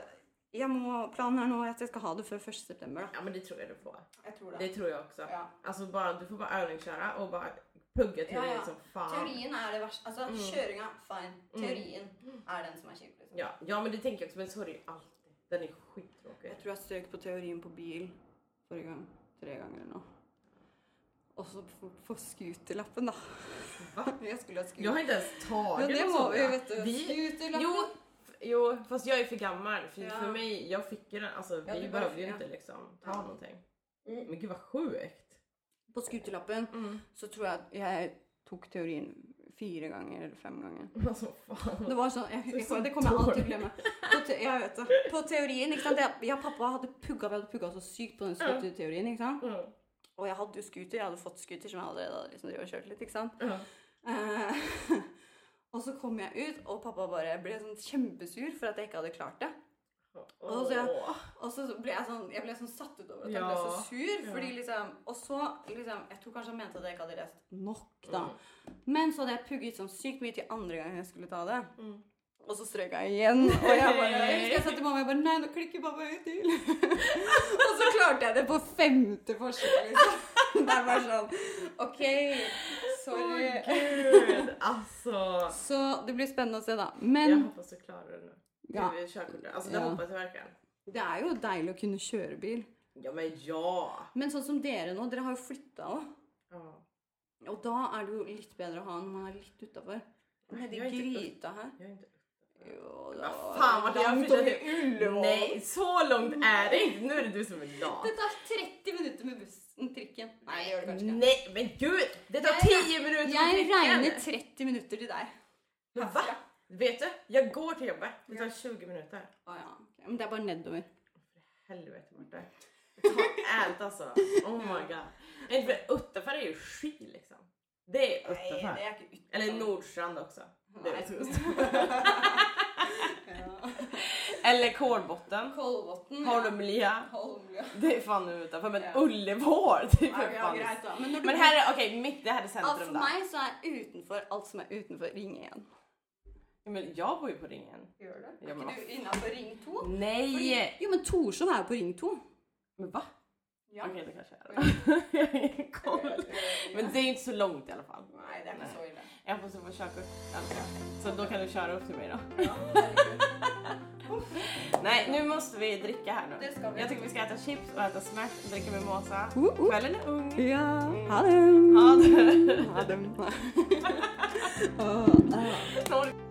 [SPEAKER 1] jeg må, Planen er nå at jeg skal ha det før 1. september, da.
[SPEAKER 2] Ja men det tror jag du får.
[SPEAKER 1] Jeg tror
[SPEAKER 2] Det tror jag också.
[SPEAKER 1] Ja.
[SPEAKER 2] Alltså bara, du får bara övningsköra och bara plugga teorin
[SPEAKER 1] Ja, ja.
[SPEAKER 2] som fan.
[SPEAKER 1] Teorien er det verste. Altså, kjøringa, fine. Teorien er den som er kjip. Liksom.
[SPEAKER 2] Mm. Ja, ja men det tänker jag också, men så är det ju alltid. Den är skittråkig.
[SPEAKER 1] Jeg tror jeg søkte på teorien på bil forrige gang. Tre ganger eller noe. Og så på, på scooterlappen, da. Jeg skulle ha
[SPEAKER 2] Jag
[SPEAKER 1] scooter.
[SPEAKER 2] har inte ens tagit
[SPEAKER 1] Ja, det
[SPEAKER 2] en
[SPEAKER 1] må
[SPEAKER 2] sån
[SPEAKER 1] vi
[SPEAKER 2] där.
[SPEAKER 1] jo, vet du.
[SPEAKER 2] sånn. Vi,
[SPEAKER 1] Scooterlappen.
[SPEAKER 2] jo, f- jo, fast jag är för gammal. För,
[SPEAKER 1] Ja.
[SPEAKER 2] för mig, jag fick ju den, alltså
[SPEAKER 1] Ja,
[SPEAKER 2] Altså, vi
[SPEAKER 1] du bara-
[SPEAKER 2] behövde ju
[SPEAKER 1] ja.
[SPEAKER 2] inte liksom ta
[SPEAKER 1] Ja.
[SPEAKER 2] någonting. Men gud vad sjukt.
[SPEAKER 1] På scooterlappen så tror jeg at jeg tok teorien fire ganger eller fem ganger.
[SPEAKER 2] Alltså fan.
[SPEAKER 1] Det var sånn, jeg,
[SPEAKER 2] Du er
[SPEAKER 1] jeg,
[SPEAKER 2] så
[SPEAKER 1] det kommer jeg alltid til å
[SPEAKER 2] dårlig.
[SPEAKER 1] glemme. På, te, jeg vet det. på teorien, ikke sant. Jeg, jeg og pappa hadde pugga, vi hadde pugga så sykt på den scooterteorien, ikke sant.
[SPEAKER 2] Mm.
[SPEAKER 1] Og jeg hadde jo scooter, jeg hadde fått scooter som jeg allerede hadde liksom drevet og kjørt litt, ikke sant.
[SPEAKER 2] Ja.
[SPEAKER 1] Eh, og så kom jeg ut, og pappa bare ble sånn kjempesur for at jeg ikke hadde klart det.
[SPEAKER 2] Åh.
[SPEAKER 1] så- Og så ble jeg sånn, jeg ble sånn satt ut over at han ble
[SPEAKER 2] Ja,
[SPEAKER 1] så sur.
[SPEAKER 2] ja.
[SPEAKER 1] Fordi liksom, og så liksom, Jeg tror kanskje han mente at jeg ikke hadde lest nok, da. Men så hadde jeg pugget sånn sykt mye til andre gang jeg skulle ta det.
[SPEAKER 2] Mm.
[SPEAKER 1] Og så strøk jeg igjen. Og jeg bare, jeg husker jeg sa til mamma jeg bare, Nei, nå klikker pappa ut til. og så klarte jeg det på femte forsøk. Liksom. Det er bare sånn OK,
[SPEAKER 2] Åh,
[SPEAKER 1] sorry.
[SPEAKER 2] Mm. gud, Altså, alltså.
[SPEAKER 1] Så det blir spennende å se, da.
[SPEAKER 2] Jag
[SPEAKER 1] Men
[SPEAKER 2] hoppas du klarar det nu.
[SPEAKER 1] Ja.
[SPEAKER 2] Du är körkortet. Alltså det
[SPEAKER 3] Ja.
[SPEAKER 2] hoppas jag verkligen.
[SPEAKER 1] det er jo deilig å kunne kjøre bil.
[SPEAKER 2] Ja men ja.
[SPEAKER 1] Men sånn som dere nå, dere har jo flytta òg.
[SPEAKER 2] Ja.
[SPEAKER 1] Og da er det jo litt bedre å ha når man er litt utafor. Nedi
[SPEAKER 2] Jeg er ikke
[SPEAKER 1] gryta her.
[SPEAKER 2] Jag är inte...
[SPEAKER 1] Jo,
[SPEAKER 2] Vad
[SPEAKER 1] da
[SPEAKER 2] fan vad det har
[SPEAKER 1] Langt over
[SPEAKER 2] flyttat
[SPEAKER 1] Ullevål.
[SPEAKER 2] Nej, så långt är det inte. Nu är det du som är lat.
[SPEAKER 1] Det tar 30 minutter med bussen, trikken. Nei, det gjør det kanskje ikke.
[SPEAKER 2] Nej men gud! Det tar
[SPEAKER 1] Jag-
[SPEAKER 2] 10
[SPEAKER 1] Jeg
[SPEAKER 2] minuter på pricken.
[SPEAKER 1] regner 30 minutter til deg.
[SPEAKER 2] Men va? Vet du? Jag går till jobbet. Det tar 20 minuter.
[SPEAKER 1] Å ja. ok. Men det er bare nedover.
[SPEAKER 2] Helvete Marta. Ta ät alltså. Oh my god. Nej, för Uttafor är ju ski liksom. Det är Uttafor.
[SPEAKER 1] er ikke ytterst.
[SPEAKER 2] Eller Nordstrand också. Det är
[SPEAKER 1] Nei.
[SPEAKER 2] Uttafor. Eller Kolbotten.
[SPEAKER 1] Kolbotn.
[SPEAKER 2] Holmlia.
[SPEAKER 1] Holmlia.
[SPEAKER 2] Det är fan utanför. Men
[SPEAKER 1] Ja.
[SPEAKER 2] Ullevål! Det är
[SPEAKER 1] Ja,
[SPEAKER 2] för
[SPEAKER 1] ja,
[SPEAKER 2] fan.
[SPEAKER 1] greit, da. Men, når du,
[SPEAKER 2] Men här är, okej, mitt, det här är
[SPEAKER 1] alt
[SPEAKER 2] centrum
[SPEAKER 1] for
[SPEAKER 2] då.
[SPEAKER 1] meg så er utenfor alt som er utenfor Ring 1.
[SPEAKER 2] Ja, Men jeg bor ju på Ringen.
[SPEAKER 1] Gjør det?
[SPEAKER 2] Ja,
[SPEAKER 1] Er
[SPEAKER 2] men
[SPEAKER 1] ikke du innafor Ring 2?
[SPEAKER 2] Nej!
[SPEAKER 1] Jo, men Torshov er jo på Ring 2.
[SPEAKER 2] Men va?
[SPEAKER 1] Ja.
[SPEAKER 2] Okej, det kanske är det. Jag har ingen koll. Men det är ju inte så långt i alla fall.
[SPEAKER 1] Nei, det er ikke så ille.
[SPEAKER 2] Jag måste få körkort. Alltså. Så då kan du köra upp till mig då. Nej, nu måste vi dricka här nu.
[SPEAKER 1] Det ska vi.
[SPEAKER 2] Jag tycker vi ska äta chips och äta smärt, dricka mimosa.
[SPEAKER 1] Uh, uh.
[SPEAKER 2] Kvällen är ung.
[SPEAKER 1] Ja, ha det!
[SPEAKER 2] Ha det!
[SPEAKER 1] Ha det.
[SPEAKER 2] Knorr.